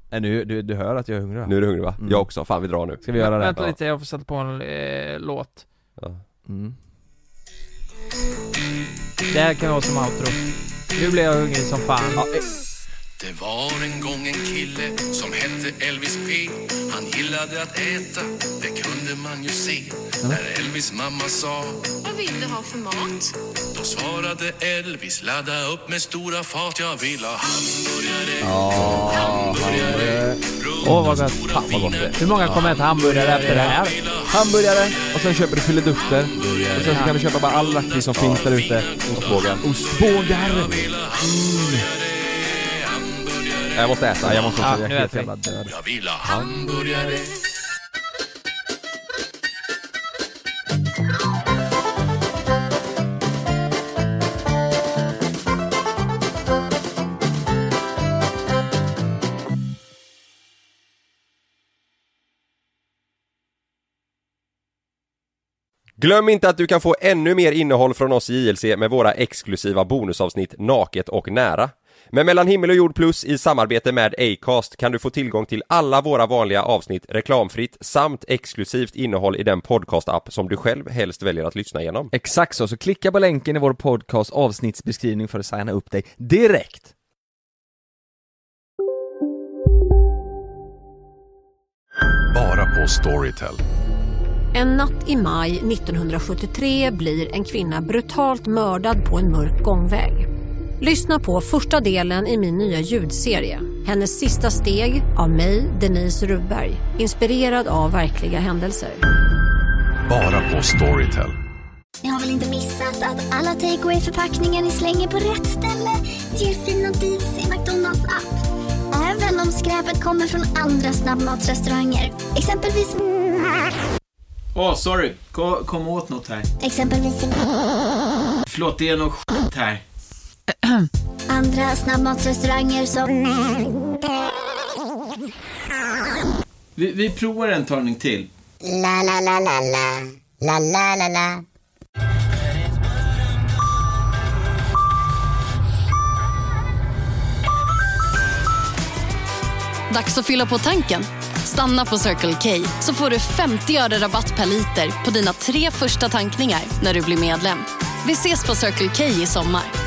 Speaker 8: Nej nu, du, du hör att jag är hungrig va? Mm.
Speaker 7: Nu är du hungrig va? Jag också, fan vi drar nu
Speaker 8: Ska vi göra det?
Speaker 9: Vänta lite, jag får sätta på en eh, låt.
Speaker 7: ja.
Speaker 8: Mm.
Speaker 9: Det här kan vara som outro. Nu blir jag hungrig som fan.
Speaker 8: Ja, eh,
Speaker 11: Det var en gång en kille som hette Elvis P Han gillade att äta, det kunde man ju se När Elvis mamma sa
Speaker 12: Vad vill du ha för mat?
Speaker 11: Då svarade Elvis Ladda upp med stora fat Jag vill ha hamburgare Hamburgare
Speaker 9: Åh vad gott.
Speaker 11: Fan vad gott det
Speaker 9: Hur många kommer äta hamburgare efter det här?
Speaker 8: hamburgare, och sen köper du filidukter och sen så kan du köpa bara all lakrits som finns där ute Ostbågar Ostbågar!
Speaker 9: Mm.
Speaker 7: Jag måste äta, jag måste
Speaker 8: måste
Speaker 9: Ja, Ah,
Speaker 8: också, jag
Speaker 9: nu
Speaker 8: är
Speaker 9: äter
Speaker 8: helt
Speaker 9: vi.
Speaker 8: jävla död
Speaker 11: Jag vill ha hamburgare
Speaker 7: Glöm inte att du kan få ännu mer innehåll från oss i JLC med våra exklusiva bonusavsnitt Naket och nära. Med Mellan himmel och jord plus i samarbete med Acast kan du få tillgång till alla våra vanliga avsnitt reklamfritt samt exklusivt innehåll i den podcastapp som du själv helst väljer att lyssna igenom.
Speaker 8: Exakt så, så klicka på länken i vår podcast avsnittsbeskrivning för att signa upp dig direkt!
Speaker 11: Bara på Storytel
Speaker 13: En natt i maj 1973 blir en kvinna brutalt mördad på en mörk gångväg.
Speaker 14: Lyssna på första delen i min nya ljudserie. Hennes sista steg av mig, Denise Rubberg. Inspirerad av verkliga händelser.
Speaker 15: Bara på Storytel.
Speaker 16: Ni har väl inte missat att alla takeaway förpackningar ni slänger på rätt ställe ger fina deals i McDonalds app. Även om skräpet kommer från andra snabbmatsrestauranger. Exempelvis...
Speaker 4: Åh, sorry. Kom, kom åt något här.
Speaker 16: Exempelvis...
Speaker 4: Förlåt, det är något skit här.
Speaker 16: Andra snabbmatsrestauranger som...
Speaker 4: Vi, vi provar en talning till.
Speaker 16: La, la, la, la, la. La, la, la, la.
Speaker 17: Dags att fylla på tanken. Stanna på Circle K så får du 50 öre rabatt per liter på dina tre första tankningar när du blir medlem. Vi ses på Circle K i sommar.